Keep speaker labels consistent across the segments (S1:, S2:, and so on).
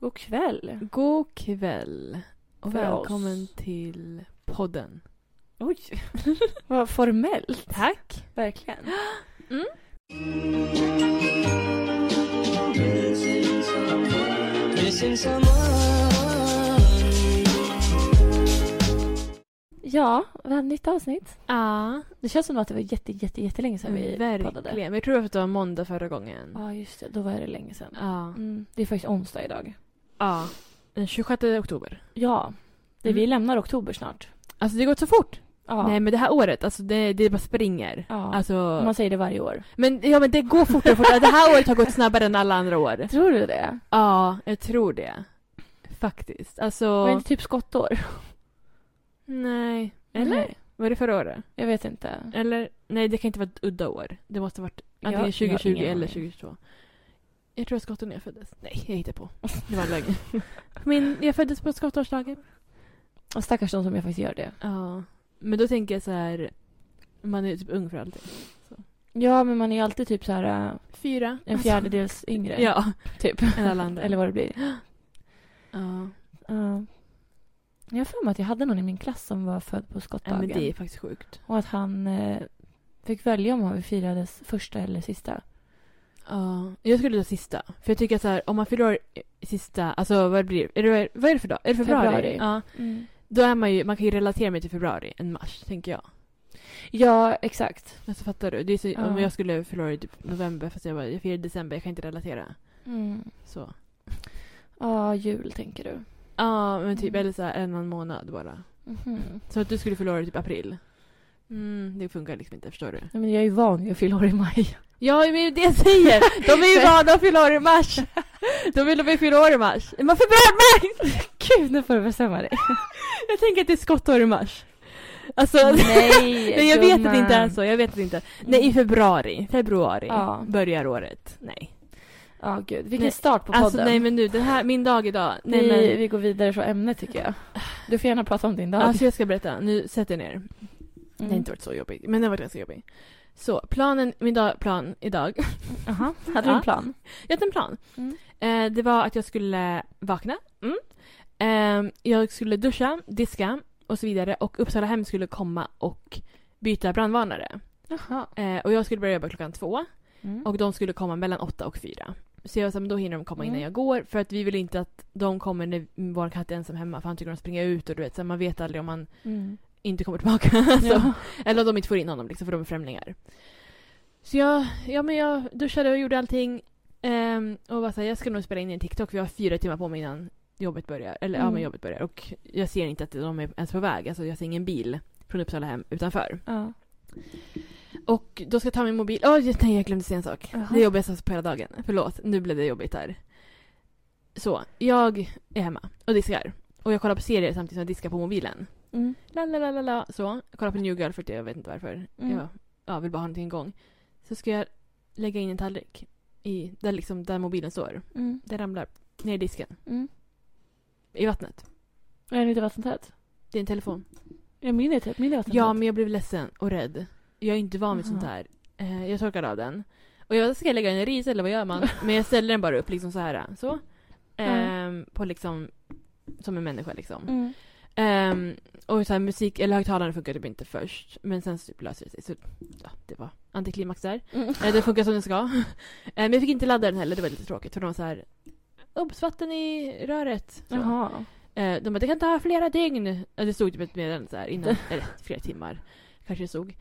S1: God kväll.
S2: God kväll och
S1: För
S2: välkommen
S1: oss.
S2: till podden.
S1: Oj, vad formellt.
S2: Tack. Mm.
S1: Verkligen.
S3: Missing someone.
S1: Ja, vi hade ett nytt avsnitt.
S2: Ja,
S1: Det känns som att det var jätte, jätte, jättelänge sedan vi poddade.
S2: Mm, verkligen. Vi tror att det var måndag förra gången.
S1: Ja, just det. Då var det länge sedan.
S2: Ja.
S1: Mm. Det är faktiskt onsdag idag.
S2: ja. Den 26 oktober.
S1: Ja, det
S2: Mm.
S1: vi lämnar oktober snart.
S2: Alltså det har gått så fort.
S1: Ja.
S2: Nej men det här året, alltså det, det bara springer.
S1: ja.
S2: Alltså,
S1: Man säger det varje år.
S2: men, ja, men det går fortare och fortare. Det här året har gått snabbare än alla andra år.
S1: Tror du det?
S2: Ja, jag tror det. Faktiskt. Alltså...
S1: Var det inte typ skottår?
S2: Nej. Eller?
S1: Nej,
S2: Var det förra året?
S1: jag vet inte.
S2: Eller? Nej, det kan inte vara ett udda år. Det måste ha varit
S1: Jag-
S2: antingen
S1: jag har
S2: 2020
S1: ingen
S2: eller
S1: aning.
S2: 2022. Jag tror att skotten när jag föddes. Nej, jag hittar på. Det var en lögn. Min, jag föddes på skottårsdagen.
S1: Och stackars de som jag faktiskt gör det.
S2: Ja. Men då tänker jag så här. Man är ju typ ung för allting.
S1: Ja, men man är ju alltid typ så här äh,
S2: Fyra.
S1: en fjärdedels yngre.
S2: Alltså. Ja.
S1: Typ.
S2: Än alla andra.
S1: Eller vad det blir.
S2: Ja.
S1: Ja. Jag har för mig att jag hade någon i min klass som var född på
S2: ja.
S1: skottdagen.
S2: Men det är faktiskt sjukt.
S1: Och att han eh, fick välja om han firades första eller sista.
S2: Ja. Jag skulle ta sista. För jag tycker att så här, om man fyller år i sista, alltså vad blir är det? Vad är det för dag? Är det februari?
S1: Februari.
S2: Ja. Då är man ju, man kan ju relatera mer till februari än mars, tänker jag.
S1: Ja, exakt.
S2: Men så Alltså, fattar du? Det är så,
S1: Ja.
S2: Om jag skulle förlora i typ november, fast jag bara, jag firar i december, jag kan inte relatera.
S1: Mm.
S2: Så.
S1: Ja, jul tänker du.
S2: Ja, men typ,
S1: Mm.
S2: eller så här, en annan månad bara.
S1: Mhm.
S2: Så att du skulle förlora i typ april. Mm, det funkar liksom inte, förstår du?
S1: Nej, men jag är ju van vid att fylla år i maj.
S2: Ja, men det är det jag säger! De är ju vana att fylla år i mars! De vill att vi fyller år i mars. Man februari, mars!
S1: Gud, nu får du bestämma dig.
S2: Jag tänker att det är skottår i mars. Alltså,
S1: Nej,
S2: Nej, jag vet att det inte är
S1: gumman.
S2: så. Jag vet att det inte. Nej, i februari. Februari
S1: Ja.
S2: börjar året. Nej.
S1: Ja, gud. Vilken
S2: Nej,
S1: start på podden.
S2: Alltså nej men nu, den här, min dag idag. Nej,
S1: vi,
S2: men,
S1: vi går vidare från ämnet tycker jag. Du får gärna prata om din dag. Mm.
S2: Alltså jag ska berätta, nu sätter jag ner. Det har inte varit så jobbigt, men det har varit ganska jobbigt. Så planen, min dag, plan idag.
S1: Aha. Hade du en
S2: Ja.
S1: plan?
S2: Jag hade en plan.
S1: Mm.
S2: Eh, det var att jag skulle vakna. Mm. Eh, jag skulle duscha, diska och så vidare. Och Uppsala hem skulle komma och byta brandvarnare.
S1: Jaha.
S2: Eh, och jag skulle börja jobba klockan två.
S1: Mm.
S2: Och de skulle komma mellan åtta och fyra. Så jag sa, men då hinner de komma innan
S1: Mm.
S2: jag går. För att vi vill inte att de kommer när vår katt är ensam hemma. För han tycker om att springa ut och du vet, så här, man vet aldrig om han
S1: Mm.
S2: inte kommer tillbaka. så.
S1: Ja.
S2: Eller om de inte får in honom liksom, för de är främlingar. Så jag, ja, men jag duschade och gjorde allting. Ehm, och var så här, jag ska nog spela in en TikTok för jag har fyra timmar på mig innan jobbet börjar. Eller ja,
S1: Mm.
S2: men jobbet börjar. Och jag ser inte att de är ens på väg. Alltså jag ser ingen bil från Uppsala hem utanför.
S1: Ja.
S2: Och då ska jag ta min mobil. Åh, jag, nej, jag glömde säga en sak.
S1: Jaha.
S2: Det är jobbigaste på hela dagen. Förlåt, nu blev det jobbigt här. Så, jag är hemma och diskar. Och jag kollar på serier samtidigt som jag diskar på mobilen.
S1: Mm.
S2: La, la, la, la, la. Så, jag kollar på New Girl för att jag vet inte varför.
S1: Mm.
S2: Jag, ja, vill bara ha någonting igång. Så ska jag lägga in en tallrik i, där, liksom, där mobilen står.
S1: Mm.
S2: Den ramlar ner i disken,
S1: Mm.
S2: i vattnet.
S1: Är den inte vattentät?
S2: Det är en telefon.
S1: Mm, Ja, min är typ. Min är vattentät.
S2: Ja, men jag blev ledsen och rädd. Jag är inte van vid
S1: Jaha.
S2: sånt här. Eh, jag torkade av den. Och jag ska lägga in en ris eller vad gör man? Men jag ställer den bara upp liksom så här. Så.
S1: Mm.
S2: Ehm, på liksom, som en människa liksom.
S1: Mm.
S2: Ehm, och så här, musik eller högtalaren funkar typ inte först. Men sen så typ löser det sig. Så ja, det var antiklimax där.
S1: Mm.
S2: Eh, den funkar som den ska. Eh, men jag fick inte ladda den heller. Det var lite tråkigt. För de var så här. Obs, vatten i röret. Så.
S1: Jaha.
S2: Eh, De bara, det kan ta flera dygn. Eh, Det stod typ ett meddelande så här innan, eller flera timmar kanske det stod.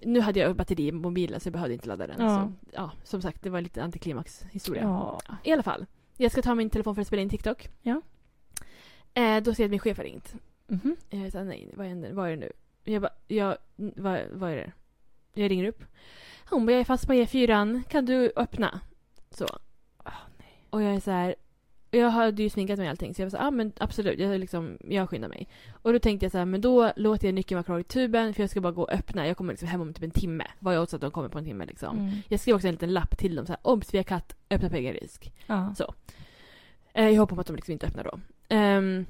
S2: Nu hade jag batteri i mobilen så jag behövde inte ladda den.
S1: Ja.
S2: Så, ja, som sagt, det var lite antiklimax historia.
S1: Ja.
S2: Ja, I alla fall, jag ska ta min telefon för att spela in TikTok.
S1: Ja.
S2: Eh, då ser jag att min chef har ringt.
S1: Mhm.
S2: Jag sa, nej, vad händer? Vad är det nu? Jag bara, jag, n- vad, vad är det? Jag ringer upp. Hon bara, jag är fast på E4, kan du öppna? Så. Och jag är så här, jag hade ju sminkat mig och allting så jag var så här, ah, men absolut, jag, liksom, jag skyndar mig. Och då tänkte jag så här, men då låter jag nyckeln vara kvar i tuben för jag ska bara gå och öppna. Jag kommer liksom hem om typ en timme. Var jag åt så att de kommer på en timme liksom.
S1: Mm.
S2: Jag skrev också en liten lapp till dem så här, obs vi har katt, öppna på egen risk.
S1: Ja.
S2: Eh, jag hoppas att de liksom inte öppnar då. Ehm,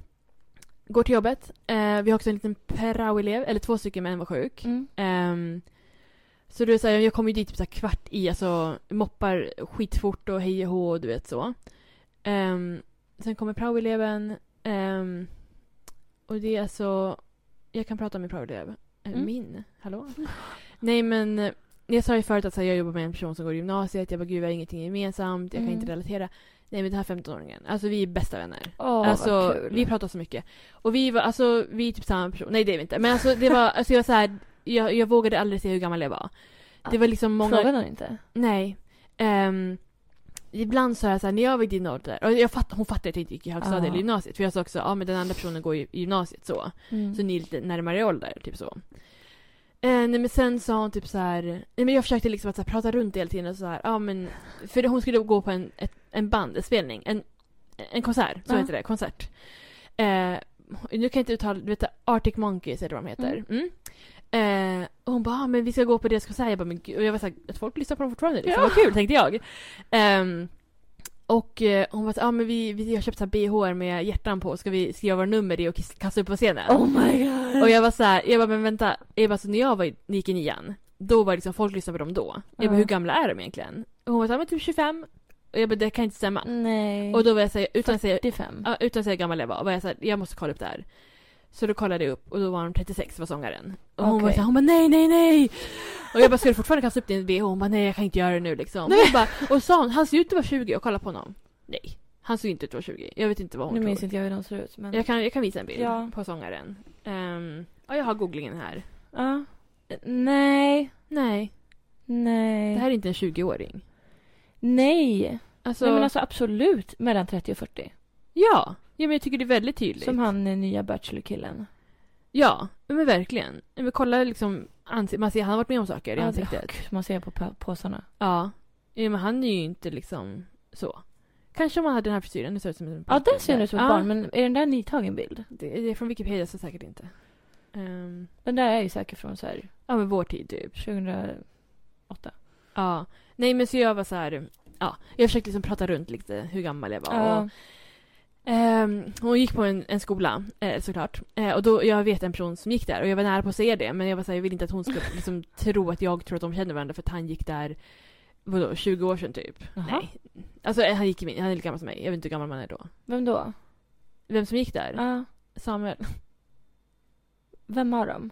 S2: går till jobbet. Eh, vi har också en liten prao-elev, eller två stycken men en var sjuk.
S1: Mm.
S2: Ehm, så du säger jag kommer ju dit typ så här kvart i, alltså moppar skitfort och hej och hå och du vet så. Ehm, Sen kommer praoeleven. ehm, och det är alltså... Jag kan prata om min praoelev. Eh,
S1: Mm.
S2: Min? Hallå? Nej men, eh, jag sa ju förut att så här, jag jobbar med en person som går i gymnasiet. Jag bara, gud vi har ingenting gemensamt. Jag kan
S1: Mm.
S2: inte relatera. Nej men den här 15-åringen. Alltså vi är bästa vänner.
S1: Åh,
S2: alltså
S1: vad kul.
S2: vi pratar så mycket. Och vi var, alltså vi är typ samma person. Nej det är vi inte. Men alltså det var, alltså jag var så här, jag, jag vågade aldrig se hur gammal jag var. Det var liksom många...
S1: Frågade hon inte?
S2: Nej. Ehm, ibland sa jag såhär, när jag var i din ålder, och jag fatt, hon fattade att jag inte gick i högstadiet
S1: Ja.
S2: eller gymnasiet. För jag sa också, ja ah, men den andra personen går ju i gymnasiet så.
S1: Mm.
S2: Så ni är lite närmare i ålder, typ så. Eh, nej men sen sa hon typ så här, nej men jag försökte liksom att så här, prata runt hela tiden och så här, ja men, för hon skulle gå på en, ett, en bandspelning, en, en konsert, så
S1: Ja.
S2: heter det, konsert. Eh, nu kan jag inte uttala, du vet Arctic Monkeys eller vad de heter. Mm. Eh, och hon bara, ah, men vi ska gå på deras konsert. Jag bara, men gud. Och jag var såhär, att folk lyssnar på dem fortfarande liksom.
S1: Ja.
S2: Vad kul, tänkte jag. Ehm, och eh, hon var såhär, ah, men vi, vi har köpt så här BH med hjärtan på. Ska vi skriva våra nummer i och kiss- kasta upp på scenen?
S1: Oh my god!
S2: Och jag var så här, jag bara men vänta, jag bara, så när jag var, i- gick i nian, då var det liksom folk lyssnade på dem då. Jag bara
S1: Ja.
S2: hur gamla är de egentligen? Och hon var så här, men typ 25. Och jag bara det kan inte stämma.
S1: Nej.
S2: Och då var jag så här, utan att säga,
S1: 45.
S2: ja, utan att säga hur gammal jag var, var jag så här, jag måste kolla upp det här. Så då kollade jag upp och då var hon 36, var sångaren. Och hon
S1: Okej.
S2: var så här, hon bara nej, nej, nej! Och jag bara, ska du fortfarande kasta upp din bh? Hon bara, nej jag kan inte göra det nu liksom. Och, jag bara, och sa hon, han ser ut att vara 20 och kolla på honom. Nej, han ser inte ut att vara 20. Jag vet inte vad hon
S1: Nu
S2: tror.
S1: minns inte jag hur de ser ut men...
S2: Jag kan, jag kan visa en bild
S1: Mm. Ja.
S2: på sångaren. Um, ja, jag har googlingen här.
S1: Ja. Nej.
S2: Nej,
S1: Nej.
S2: det här är inte en 20-åring.
S1: Nej.
S2: Alltså,
S1: Nej men alltså absolut mellan 30 och 40.
S2: ja. ja, men jag tycker det är väldigt tydligt.
S1: Som han den nya Bachelor-killen.
S2: Ja, men verkligen. Ja, Men kolla liksom, ansi- man ser, han har varit med om saker i
S1: Ja, det-
S2: ansiktet.
S1: Gud, man ser på pa- påsarna.
S2: Ja. ja, men han är ju inte liksom så. Kanske om han hade den här frisyren, nu ser det ut som en
S1: Ja, den ser den ut som ett
S2: Ja,
S1: barn men är den där nytagen bild?
S2: Det, det är från Wikipedia så säkert inte. Ehm,
S1: Den där är ju säkert från så här
S2: ja, men vår tid typ.
S1: 2008.
S2: Ja. Nej, men så jag var så här, ja, jag försökte liksom prata runt lite hur gammal jag var. Och,
S1: Ja.
S2: Ehm, hon gick på en, en skola eh, såklart. Eh, och då, jag vet en person som gick där och jag var nära på att säga det men jag var så här, jag vill inte att hon ska liksom, tro att jag tror att de känner varandra för att han gick där vadå, 20 år sedan typ.
S1: Jaha.
S2: Nej. Alltså eh, han, gick i min, han är lika gammal som mig. Jag vet inte hur gammal man är då.
S1: Vem då?
S2: Vem som gick där?
S1: Ja.
S2: Samuel?
S1: Vem har dem?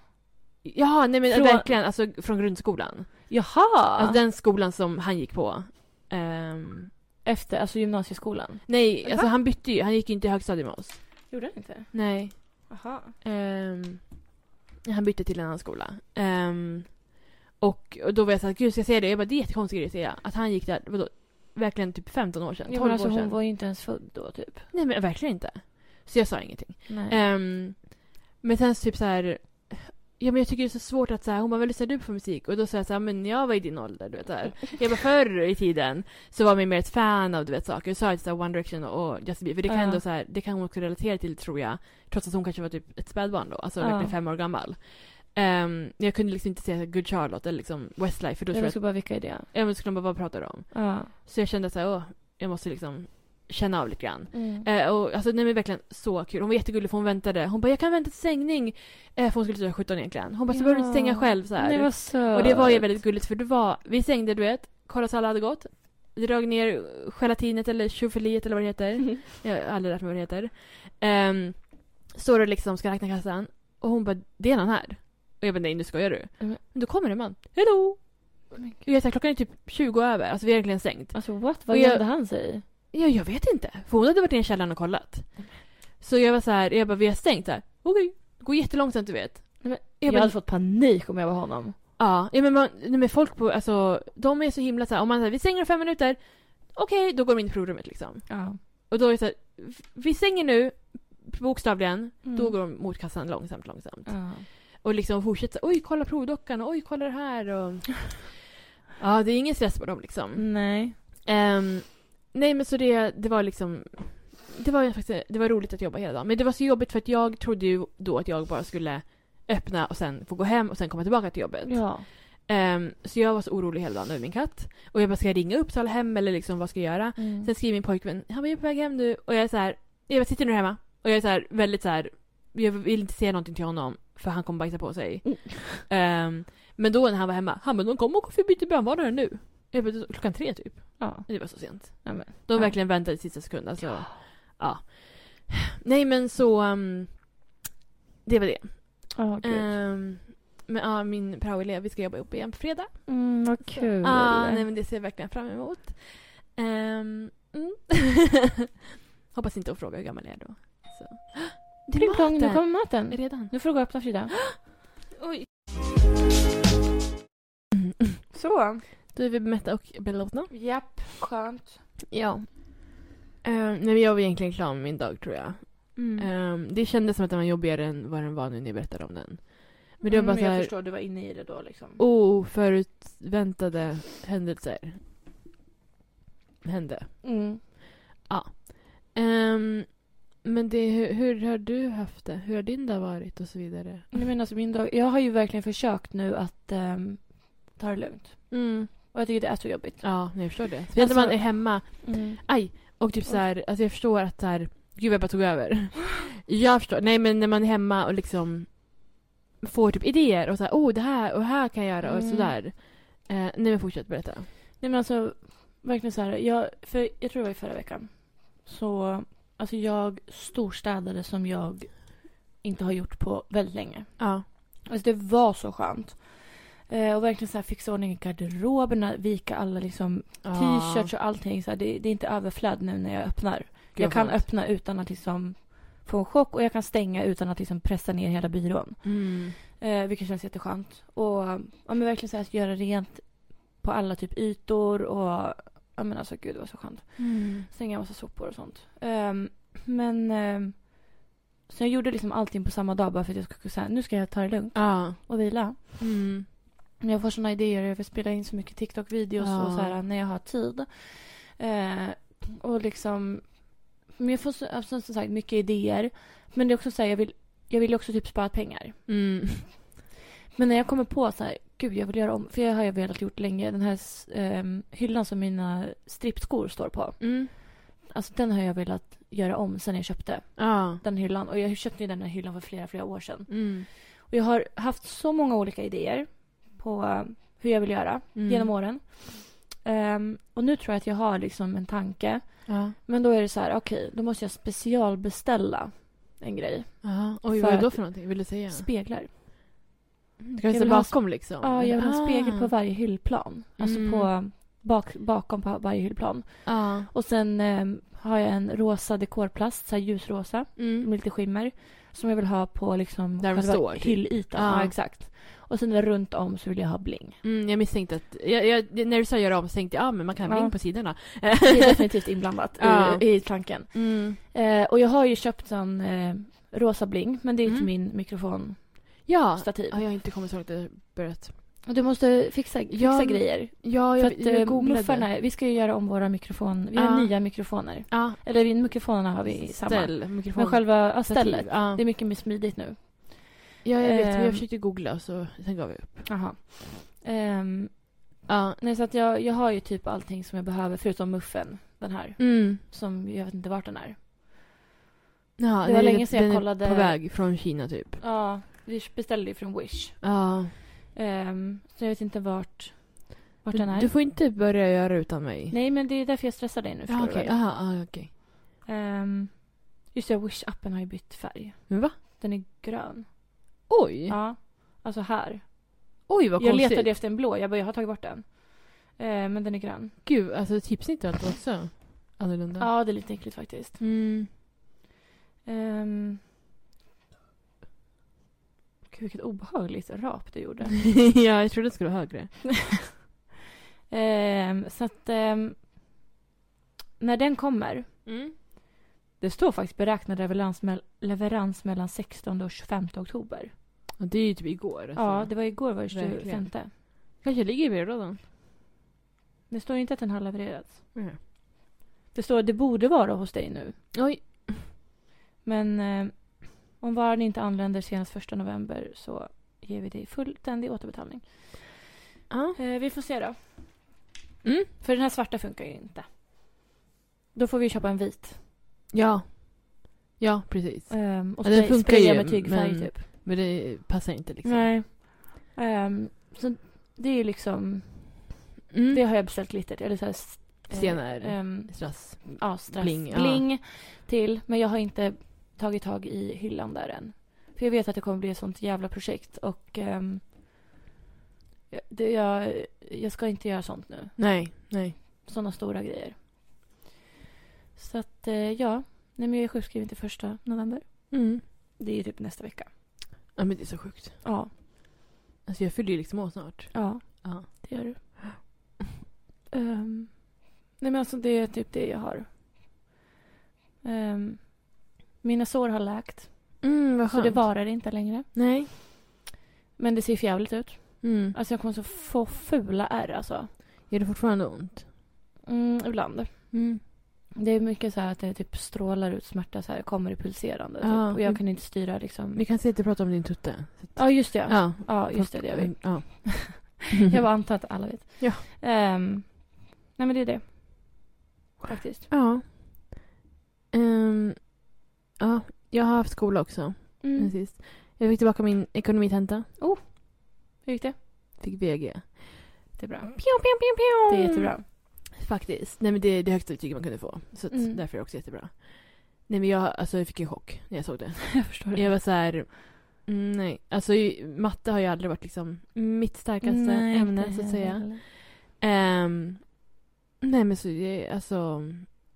S2: Ja, nej men
S1: Från-
S2: verkligen alltså från grundskolan.
S1: Jaha!
S2: Alltså den skolan som han gick på. Ehm,
S1: Efter, alltså gymnasieskolan.
S2: nej,
S1: Va?
S2: alltså han bytte ju. Han gick ju inte i högstadiet med oss.
S1: Gjorde han inte?
S2: Nej.
S1: Jaha.
S2: Ehm, han bytte till en annan skola. Ehm, och, och då var jag såhär, gud ska jag säga det? Jag bara, det är jättekonstig grej att säga. Att han gick där, vadå, verkligen typ 15 år sedan, 12
S1: Ja, men alltså
S2: år sedan.
S1: hon var ju inte ens född då typ.
S2: Nej men verkligen inte. Så jag sa ingenting.
S1: Nej.
S2: Ehm, men sen så typ så här. Ja men jag tycker det är så svårt att säga. hon bara vad lyssnar du på för musik? Och då sa jag såhär, men jag var i din ålder du vet där. Jag bara förr i tiden så var man mer ett fan av du vet saker. Så sa jag såhär One Direction och Justin Bieber. För det kan
S1: Ja.
S2: ändå så här, det kan hon också relatera till tror jag. Trots att hon kanske var typ ett spädbarn då, alltså
S1: Ja.
S2: verkligen fem år gammal. Ehm, jag kunde liksom inte säga Good Charlotte eller liksom Westlife för då tror
S1: jag
S2: jag,
S1: skulle bara vilka är det?
S2: jag, jag skulle bara vad pratar de om?
S1: Ja.
S2: Så jag kände såhär, åh, jag måste liksom känna av lite grann.
S1: Mm.
S2: Eh, och, alltså, nej, men verkligen så kul. Hon var jättegullig för hon väntade. Hon bara jag kan vänta till stängning. Eh, för hon skulle sluta 17 egentligen. Hon bara så
S1: Ja.
S2: behöver du inte stänga själv så här.
S1: Nej vad söt.
S2: och det var ju väldigt gulligt för det var, vi stängde du vet, kollade så alla hade gått. Drog ner gelatinet eller tjofiliet eller vad det heter. Jag har aldrig lärt mig vad det heter. Ehm, står och liksom ska räkna kassan. Och hon bara det är någon här. Och jag bara nej nu skojar du.
S1: Mm.
S2: Men då kommer en man. Hello!
S1: Men gud.
S2: Och jag, så här, klockan är typ 20 över. Alltså vi har egentligen stängt.
S1: Alltså what? Vad
S2: Och jag-
S1: gömde han sig i?
S2: Ja, jag vet inte. För hon hade varit i källaren och kollat. Så jag var så här, jag bara, vi har stängt här. Okej. Det går jättelångsamt, du vet.
S1: Nej, men
S2: jag
S1: Jag
S2: bara,
S1: hade fått panik om jag var honom.
S2: ja, ja, men, man, nej, men folk på, alltså, de är så himla så här, om man säger vi stänger om fem minuter. Okej, då går de in i provrummet liksom.
S1: Ja.
S2: Och då är det så här, vi stänger nu, bokstavligen.
S1: Mm.
S2: Då går de mot kassan långsamt, långsamt.
S1: Ja. Mm.
S2: Och liksom fortsätter, oj, kolla provdockan, och oj, kolla det här och... Ja, det är ingen stress på dem liksom.
S1: Nej.
S2: Ehm, nej men så det, det var liksom det var, ju faktiskt, det var roligt att jobba hela dagen. Men det var så jobbigt för att jag trodde ju då att jag bara skulle öppna och sen få gå hem och sen komma tillbaka till jobbet.
S1: Ja.
S2: Ehm, så jag var så orolig hela dagen över min katt. Och jag bara, ska jag ringa Uppsala hem eller liksom vad ska jag göra?
S1: Mm.
S2: Sen skriver min pojkvän, han bara, jag är på väg hem nu. Och jag är så här, jag bara, sitter nu hemma. Och jag är så här, väldigt så här, jag vill inte säga någonting till honom för han kommer bajsa på sig.
S1: Mm.
S2: Ehm, men då när han var hemma, han bara, de kommer åka förbi till brandvarnaren nu. Jag bara, klockan tre typ.
S1: Ja.
S2: Det var så sent.
S1: Nej, men.
S2: De
S1: Ja.
S2: verkligen väntade i sista sekund. Alltså. Ja.
S1: Ja.
S2: Ja. Nej men så... ehm, det var det.
S1: Ja, gud.
S2: Ehm, men ja, min praoelev, vi ska jobba ihop igen på fredag.
S1: Mm, vad kul.
S2: Ah, nej men det ser jag verkligen fram emot. Ehm, mm. Hoppas inte hon frågar hur gammal jag är då. Så. Det
S1: Pling plong, nu
S2: maten.
S1: kommer maten.
S2: Redan?
S1: Nu får du gå och öppna Frida.
S2: Oj.
S1: Så.
S2: Mm. Då är vi mätta och belåtna.
S1: Japp, skönt.
S2: Ja. Ehm, nej men jag var egentligen klar med min dag tror jag.
S1: Mm.
S2: Ehm, det kändes som att den var jobbigare än vad den var nu när jag berättade om den. Mm, Men det var bara så här
S1: förstår, du var inne i det då liksom.
S2: oförutväntade händelser. Hände.
S1: Mm.
S2: Ehm, men det, hur, hur har du haft det? Hur har din dag varit och så vidare?
S1: Nej, men alltså, min dag, jag har ju verkligen försökt nu att ehm, ta det lugnt.
S2: Mm.
S1: Och jag tycker det är så jobbigt.
S2: Ja, jag förstår det. Alltså- Speciellt när man är hemma.
S1: Mm.
S2: Aj! Och typ så här, alltså jag förstår att så här, gud jag bara tog över. Jag förstår, nej men när man är hemma och liksom får typ idéer och så här, oh det här och här kan jag göra och
S1: Mm.
S2: sådär. Eh, nej men fortsätt berätta.
S1: Nej men alltså, verkligen så här. Jag, för jag tror det var i förra veckan. Så, alltså jag storstädade som jag inte har gjort på väldigt länge.
S2: Ja.
S1: Alltså det var så skönt. Eh, och verkligen så här fixa ordning i garderoberna, vika alla liksom t-shirts och allting. Så här, det, det är inte överflöd nu när jag öppnar.
S2: Gud,
S1: jag
S2: vad
S1: kan
S2: skönt.
S1: öppna utan att liksom få en chock och jag kan stänga utan att liksom pressa ner hela byrån.
S2: Mm.
S1: Eh, vilket känns jätteskönt. Och ja, men verkligen så här, att göra rent på alla typ ytor och ja men alltså gud det var så skönt.
S2: Mm.
S1: Slänga en massa sopor och sånt. Ehm, men ehm, så jag gjorde liksom allting på samma dag bara för att jag skulle säga nu ska jag ta det lugnt
S2: Ja.
S1: och vila.
S2: Mm.
S1: Men Jag får såna idéer, jag vill spela in så mycket TikTok-videos
S2: Ja.
S1: och så här när jag har tid. Eh, och liksom... Men jag får så, alltså, som sagt mycket idéer. Men det är också så här, jag vill, jag vill ju också typ spara pengar.
S2: Mm.
S1: Men när jag kommer på så här, gud jag vill göra om, för jag har jag velat gjort länge. Den här s- ehm, hyllan som mina strippskor står på.
S2: Mm.
S1: Alltså den har jag velat göra om sen jag köpte
S2: Ja.
S1: den hyllan. Och jag köpte ju den här hyllan för flera, flera år sedan.
S2: Mm.
S1: Och jag har haft så många olika idéer på eh, hur jag vill göra.
S2: Mm.
S1: genom åren. Ehm, och nu tror jag att jag har liksom en tanke.
S2: Ja.
S1: Men då är det så här, okej, då måste jag specialbeställa en grej.
S2: Ja. Oj,
S1: För
S2: vad är det då
S1: att-
S2: för någonting? Vill du säga?
S1: Speglar.
S2: Du
S1: jag
S2: kan stå
S1: vill ha-
S2: bakom liksom?
S1: Ja, jag vill ha en spegel på
S2: varje...
S1: varje hyllplan. Alltså
S2: ah. Mm.
S1: på bak, bakom på varje hyllplan.
S2: Ja.
S1: Och sen ehm, har jag en rosa dekorplast, så här ljusrosa,
S2: Mm.
S1: med lite skimmer. Som jag vill ha på liksom
S2: Där de
S1: själva
S2: står, typ.
S1: hyllytan.
S2: Ja.
S1: Ja. exakt. Och sen där runt om så vill jag ha bling.
S2: Mm, jag misstänkte att, jag, jag, när du sa göra om så tänkte jag ah, men man kan ha
S1: Ja.
S2: bling på sidorna.
S1: Det är definitivt inblandat
S2: Ja.
S1: i, i tanken.
S2: Mm.
S1: Eh, och jag har ju köpt en eh, rosa bling, men det är
S2: Mm.
S1: till min mikrofonstativ.
S2: Ja. ja, jag har inte kommit så långt att jag börjat.
S1: Och du måste fixa, fixa
S2: Ja, men-
S1: grejer.
S2: Ja,
S1: För att eh, muffarna, vi ska ju göra om våra mikrofoner. Vi
S2: Ja.
S1: har nya mikrofoner.
S2: Ja,
S1: Eller vi- mikrofonerna har vi samma.
S2: ställ, mikrofon.
S1: Men själva ja,
S2: stativ.
S1: stället.
S2: Ja.
S1: Det är mycket mer smidigt nu.
S2: ja, jag vet. men
S1: Ehm.
S2: Jag försökte googla och så, sen gav jag upp.
S1: Jaha. Ehm,
S2: Ja.
S1: nej, så att jag, jag har ju typ allting som jag behöver förutom muffen. Den här.
S2: Mm.
S1: Som jag vet inte vart den är.
S2: Ja,
S1: Det typ var länge sedan jag kollade-
S2: på väg från Kina typ.
S1: Ja, vi beställde ju från Wish.
S2: Ja.
S1: Ehm, så jag vet inte vart, vart den
S2: Du,
S1: är.
S2: du får inte börja göra utan mig.
S1: Nej, men det är därför jag stressar dig nu.
S2: Ja,
S1: förstår du
S2: okej.
S1: väl?
S2: Aha, ja, okej.
S1: Ehm, just det, Wish-appen har ju bytt färg.
S2: Men va?
S1: Den är grön.
S2: Oj!
S1: Ja. Alltså här.
S2: Oj, vad
S1: jag
S2: konstigt.
S1: letade efter en blå. Jag bara, jag har tagit bort den. Ehm, men den är grön.
S2: Gud, alltså tipsar inte du att det var också annorlunda?
S1: Ja, det är lite äckligt faktiskt.
S2: Mm.
S1: Um, Gud, vilket obehagligt rap du gjorde.
S2: ja, jag trodde det skulle vara högre.
S1: Ehm, så att... ehm, när den kommer. Mm. Det står faktiskt beräknad leverans, mell- leverans mellan 16 och 25 oktober.
S2: Och det är ju typ igår. alltså.
S1: Ja, det var igår var det
S2: Verkligen.
S1: 25.
S2: kanske ligger i brevlådan.
S1: Det står inte att den har levererats.
S2: Mm.
S1: Det står att det borde vara hos dig nu.
S2: Oj.
S1: Men eh, om varan inte anländer senast 1 november så ger vi dig fullständig återbetalning.
S2: Ja.
S1: Eh, vi får se då.
S2: Mm.
S1: För den här svarta funkar ju inte. Då får vi köpa en vit.
S2: Ja. Ja, precis.
S1: Ehm, och
S2: Ja, den
S1: spray-
S2: funkar
S1: spraya
S2: ju,
S1: med tygfärg
S2: men
S1: typ.
S2: Men det passar inte liksom.
S1: Nej. Ehm, så det är ju liksom...
S2: Mm.
S1: Det har jag beställt glitter. Eller så här, s-
S2: Stenar.
S1: ehm,
S2: Strass.
S1: ja, strass,
S2: Bling,
S1: bling,
S2: ja.
S1: till. Men jag har inte tagit tag i hyllan där än. För jag vet att det kommer bli ett sånt jävla projekt och ehm, jag- det, jag, jag ska inte göra sånt nu.
S2: Nej, nej.
S1: Såna stora grejer. Så att eh, ja, nej men jag är sjukskriven till första november.
S2: Mm.
S1: Det är typ nästa vecka.
S2: Ja, men det är så sjukt.
S1: Ja,
S2: Alltså jag fyller ju liksom år snart.
S1: ja
S2: Ja.
S1: det gör du. Ehm, nej men alltså det är typ det jag har. Ehm, mina sår har läkt.
S2: Mm, vad
S1: Så det varar inte längre.
S2: Nej.
S1: Men det ser förjävligt ut.
S2: Mm.
S1: Alltså jag kommer så få fula ärr alltså.
S2: Gör det fortfarande ont?
S1: Mm, ibland.
S2: Mm.
S1: Det är mycket så här att det typ strålar ut smärta så här, kommer det pulserande typ.
S2: Ja.
S1: Och jag kan inte styra liksom.
S2: Vi kan inte prata om din tutte. Så att-
S1: Ja just det. Ja,
S2: Ja.
S1: ja just det, det gör vi.
S2: Ja.
S1: Jag bara antar att alla vet.
S2: Mm-hmm. Ja.
S1: Ehm, nej men det är det. Faktiskt.
S2: Ja. Ehm, ja, jag har haft skola också.
S1: Mm.
S2: sen Sist. Jag fick tillbaka min ekonomitenta.
S1: Hur gick det?
S2: Fick VG.
S1: Det är bra.
S2: Pjong, pjong, pjong, pjong.
S1: Det är jättebra.
S2: Faktiskt. Nej men det är det högsta betyget man kunde få. Så att
S1: Mm.
S2: därför är det också jättebra. Nej men jag, alltså, jag fick ju chock när jag såg det.
S1: Jag förstår det.
S2: Jag var så här... mm, Nej, alltså i- matte har ju aldrig varit liksom mitt starkaste ämne så att säga. Ehm, nej men så det, alltså.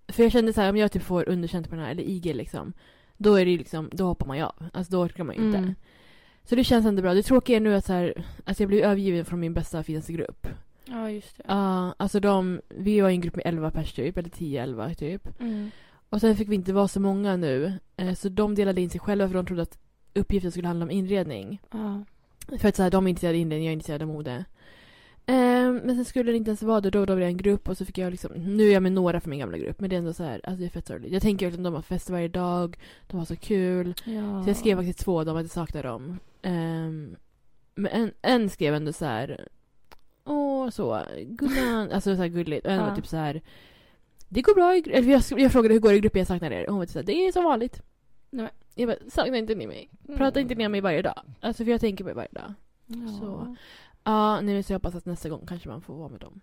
S2: För jag kände så här om jag typ får underkänt på den här eller IG liksom. Då är det ju liksom, då hoppar man ju av. Alltså då orkar man ju inte.
S1: Mm.
S2: Så det känns ändå bra. Det tråkiga är nu att så här, alltså jag blev övergiven från min bästa finaste grupp.
S1: Ja just det.
S2: Ja, alltså de, vi var ju en grupp med 11 pers typ, eller 10-11 typ.
S1: Mm.
S2: Och sen fick vi inte vara så många nu. Eh, så de delade in sig själva för de trodde att uppgiften skulle handla om inredning.
S1: Ja.
S2: För att så här, de är intresserade av inredning, jag är intresserad av mode. Ehm, men sen skulle det inte ens vara det, då, då blev det en grupp och så fick jag liksom, nu är jag med några från min gamla grupp men det är ändå så här, alltså det är fett sorgligt. Jag tänker verkligen att de har fest varje dag, de har så kul.
S1: ja.
S2: Så jag skrev faktiskt två av dem att jag saknar dem. Ehm, men en, en skrev ändå så här, åh så, gullan, alltså så här gulligt. Och en var
S1: Ja.
S2: typ så här, det går bra i gru- eller jag, sk- jag frågade hur går det i gruppen, jag saknar er. Och hon var typ så här, det är som vanligt.
S1: Nej, men-
S2: Jag bara, saknar inte ni mig? Prata inte ner mig varje dag. Alltså för jag tänker på er varje dag.
S1: Mm. Ja.
S2: så. Ja, nej men så jag hoppas att nästa gång kanske man får vara med dem.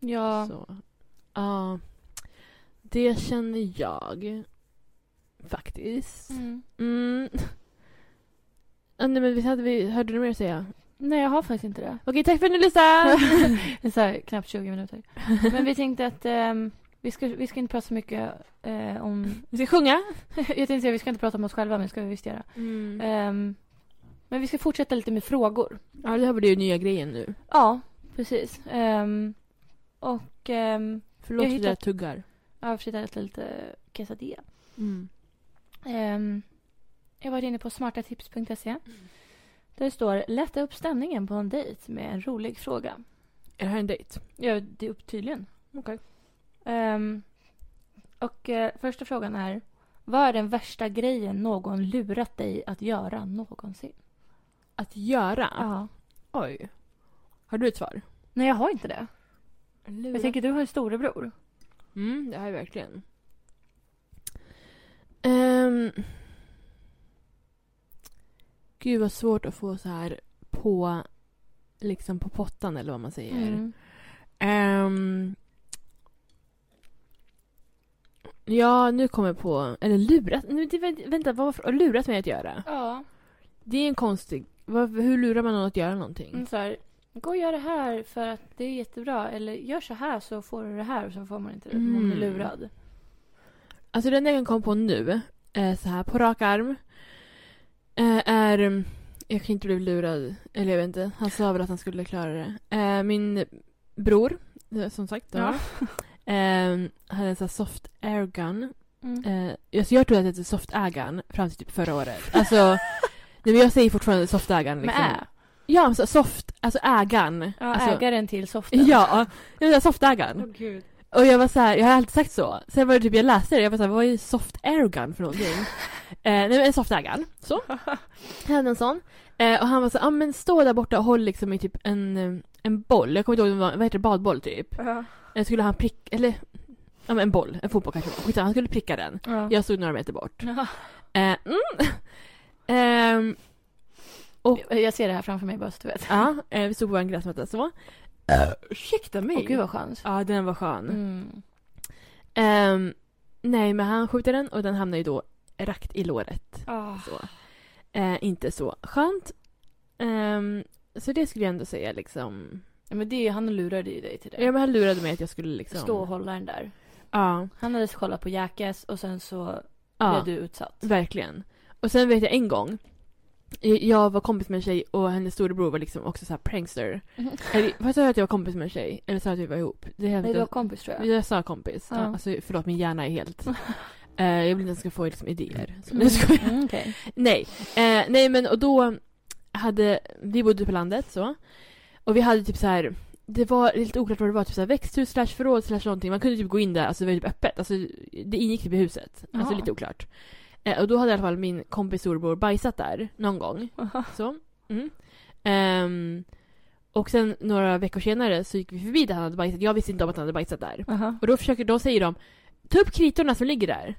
S1: Ja.
S2: Så. Ja. Det känner jag. Faktiskt.
S1: Mm.
S2: Mm. Ja, nej men visst hade vi, hörde du mer att säga?
S1: Nej jag har faktiskt inte det.
S2: Okej, tack för att ni lyssnade!
S1: Det är så här, knappt 20 minuter. Men vi tänkte att ehm, vi, ska, vi ska inte prata så mycket eh, om...
S2: vi ska sjunga.
S1: jag tänkte säga vi ska inte prata om oss själva, men det ska vi visst göra.
S2: Eh,
S1: Ehm, men vi ska fortsätta lite med frågor.
S2: Ja, det här var det ju nya grejen nu.
S1: Ja, precis. Ehm, och ehm,
S2: Förlåt
S1: Jag
S2: för att
S1: hittat-
S2: jag tuggar.
S1: jag har försökt äta lite quesadilla. Mm. Ehm, jag var inne på smartatips.se. E. Där det står lätta upp stämningen på en dejt med en rolig fråga.
S2: Är det här en dejt?
S1: Ja, det är upp tydligen.
S2: Okej.
S1: Ehm, och eh, första frågan är vad är den värsta grejen någon lurat dig att göra någonsin?
S2: Att göra?
S1: Ja.
S2: Oj. Har du ett svar?
S1: Nej, jag har inte det. Jag tänker du har en storebror.
S2: Mm, det här är verkligen. Um, gud vad svårt att få så här på liksom på pottan eller vad man säger.
S1: Mm.
S2: Ehm, ja, nu kommer jag på... Eller lurat... Nu, det, vänta, vad var för- lurat mig att göra?
S1: Ja,
S2: Det är en konstig... Vad, hur lurar man någon att göra någonting?
S1: mm, så här, gå och gör det här för att det är jättebra. Eller gör så här så får du det här och så får man inte det. Man blir
S2: Mm.
S1: lurad.
S2: Alltså den jag kan komma på nu, eh, så här på rak arm, eh, är... mm, Jag kan inte bli lurad, eller jag vet inte. Han sa väl att han skulle klara det. Eh, min bror, eh, som sagt, då,
S1: Ja.
S2: eh, hade en sån här soft airgun.
S1: Mm.
S2: Eh, alltså jag trodde att det hette soft airgun fram till typ förra året. Alltså, nej, men jag säger fortfarande soft airgun.
S1: Med
S2: Liksom.
S1: ä.
S2: Ja, så soft, alltså ägan.
S1: Ja,
S2: alltså,
S1: ägaren Mm. till soften.
S2: Ja, jag menar soft ägan.
S1: Åh, gud.
S2: Och jag var så här, jag har alltid sagt så. Sen var det typ jag läste det, jag var så här, vad är soft airgun för någonting? eh, nej men en soft airgun, så. Jag hade en sån. Eh, och han var så här, ah, men stå där borta och håll liksom i typ en, eh, en boll. Jag kommer inte ihåg, om det var- vad heter det, badboll typ.
S1: Ja.
S2: Eh, skulle han pricka, eller ja men en boll, en fotboll kanske det var. Skitsamma, han skulle pricka den.
S1: Ja.
S2: Jag stod några meter bort.
S1: Ja.
S2: Eh, mm. Ehm,
S1: Jag ser det här framför mig bara så du vet.
S2: eh, Ja, eh, vi stod på en gräsmatta så. Ursäkta mig.
S1: Åh gud vad skönt.
S2: Ja, den var skön.
S1: Mm.
S2: Ehm, nej, men han skjuter den och den hamnar ju då rakt i låret.
S1: Ah.
S2: Så. Eh, inte så skönt. Ehm, så det skulle jag ändå säga liksom.
S1: Ja, men det, han lurade ju dig till det.
S2: Ja, men han lurade mig att jag skulle liksom.
S1: Stå och hålla den där.
S2: Ja,
S1: Han hade kollat på Jackass och sen så
S2: ja
S1: blev du utsatt.
S2: verkligen. Och sen vet jag en gång. Jag var kompis med en tjej och hennes storebror var liksom också så här prankster. Eller, vad sa jag att jag var kompis med en tjej? Eller sa jag att vi var ihop? Det är
S1: Nej, du var kompis tror jag.
S2: Jag sa kompis.
S1: Ja.
S2: Alltså, förlåt, min hjärna är helt... Eh, jag vill inte ens ska få liksom, idéer. Så,
S1: Mm.
S2: nu ska jag.
S1: Mm, okej.
S2: Nej. Eh, nej, men och då hade... Vi bodde på landet så. Och vi hade typ så här... Det var lite oklart vad det var. Typ så här växthus slash förråd slash någonting. Man kunde typ gå in där. Alltså det var typ öppet. Alltså det ingick typ i huset. Alltså
S1: Jaha.
S2: lite oklart. Eh, och då hade i alla fall min kompis storebror bajsat där någon gång. Så. Mm. Ehm, och sen några veckor senare så gick vi förbi där han hade bajsat. Jag visste inte om att han hade bajsat där.
S1: Aha.
S2: Och då, försöker, då säger de Ta upp kritorna som ligger där.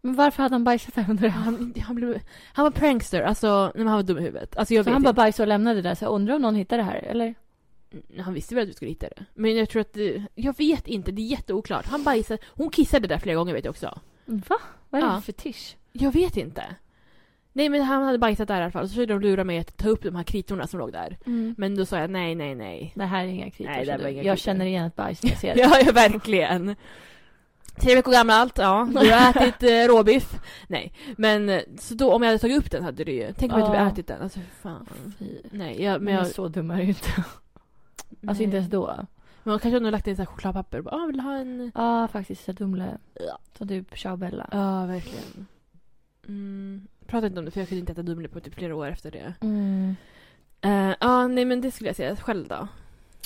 S1: Men varför hade han bajsat där undrar jag?
S2: Han, han, blev, han var prankster, alltså nej, men han var dum i huvudet. Alltså, jag
S1: Så
S2: vet
S1: han bara
S2: inte.
S1: bajsade och lämnade det där. Så jag undrar om någon hittade det här eller?
S2: Mm, han visste väl att vi skulle hitta det. Men jag tror att det, Jag vet inte, det är jätteoklart. Han bajsade, hon kissade där flera gånger vet jag också.
S1: Va? Vad är det
S2: Ja.
S1: för fetisch?
S2: Jag vet inte. Nej men han hade bajsat där i alla fall. Så försökte de lura mig att ta upp de här kritorna som låg där.
S1: Mm.
S2: Men då sa jag nej, nej, nej.
S1: Det här är inga kritor.
S2: Nej, det
S1: sa
S2: var
S1: du.
S2: inga
S1: jag
S2: kritor.
S1: känner igen ett bajs. Jag ser det.
S2: Ja, ja verkligen. Tre veckor gammalt, ja. Du har ätit eh, råbiff. Nej, men eh, så då om jag hade tagit upp den hade du ju. Tänk om jag inte
S1: Ja.
S2: hade ätit den. Alltså fan.
S1: Fy.
S2: Nej, jag, men
S1: Men
S2: jag...
S1: så dumma är ju inte. Alltså inte ens
S2: då.
S1: då.
S2: Men man kanske hade nog lagt in så här chokladpapper. Bara, ah, vill du ha en...
S1: Ja, faktiskt. Så dumle.
S2: Ja.
S1: Så typ Ciao Bella.
S2: Ja, verkligen. Mm. Prata inte om det för jag kunde inte äta Dumle på typ flera år efter det.
S1: Mm.
S2: Eh, Ja, nej men det skulle jag säga själv då.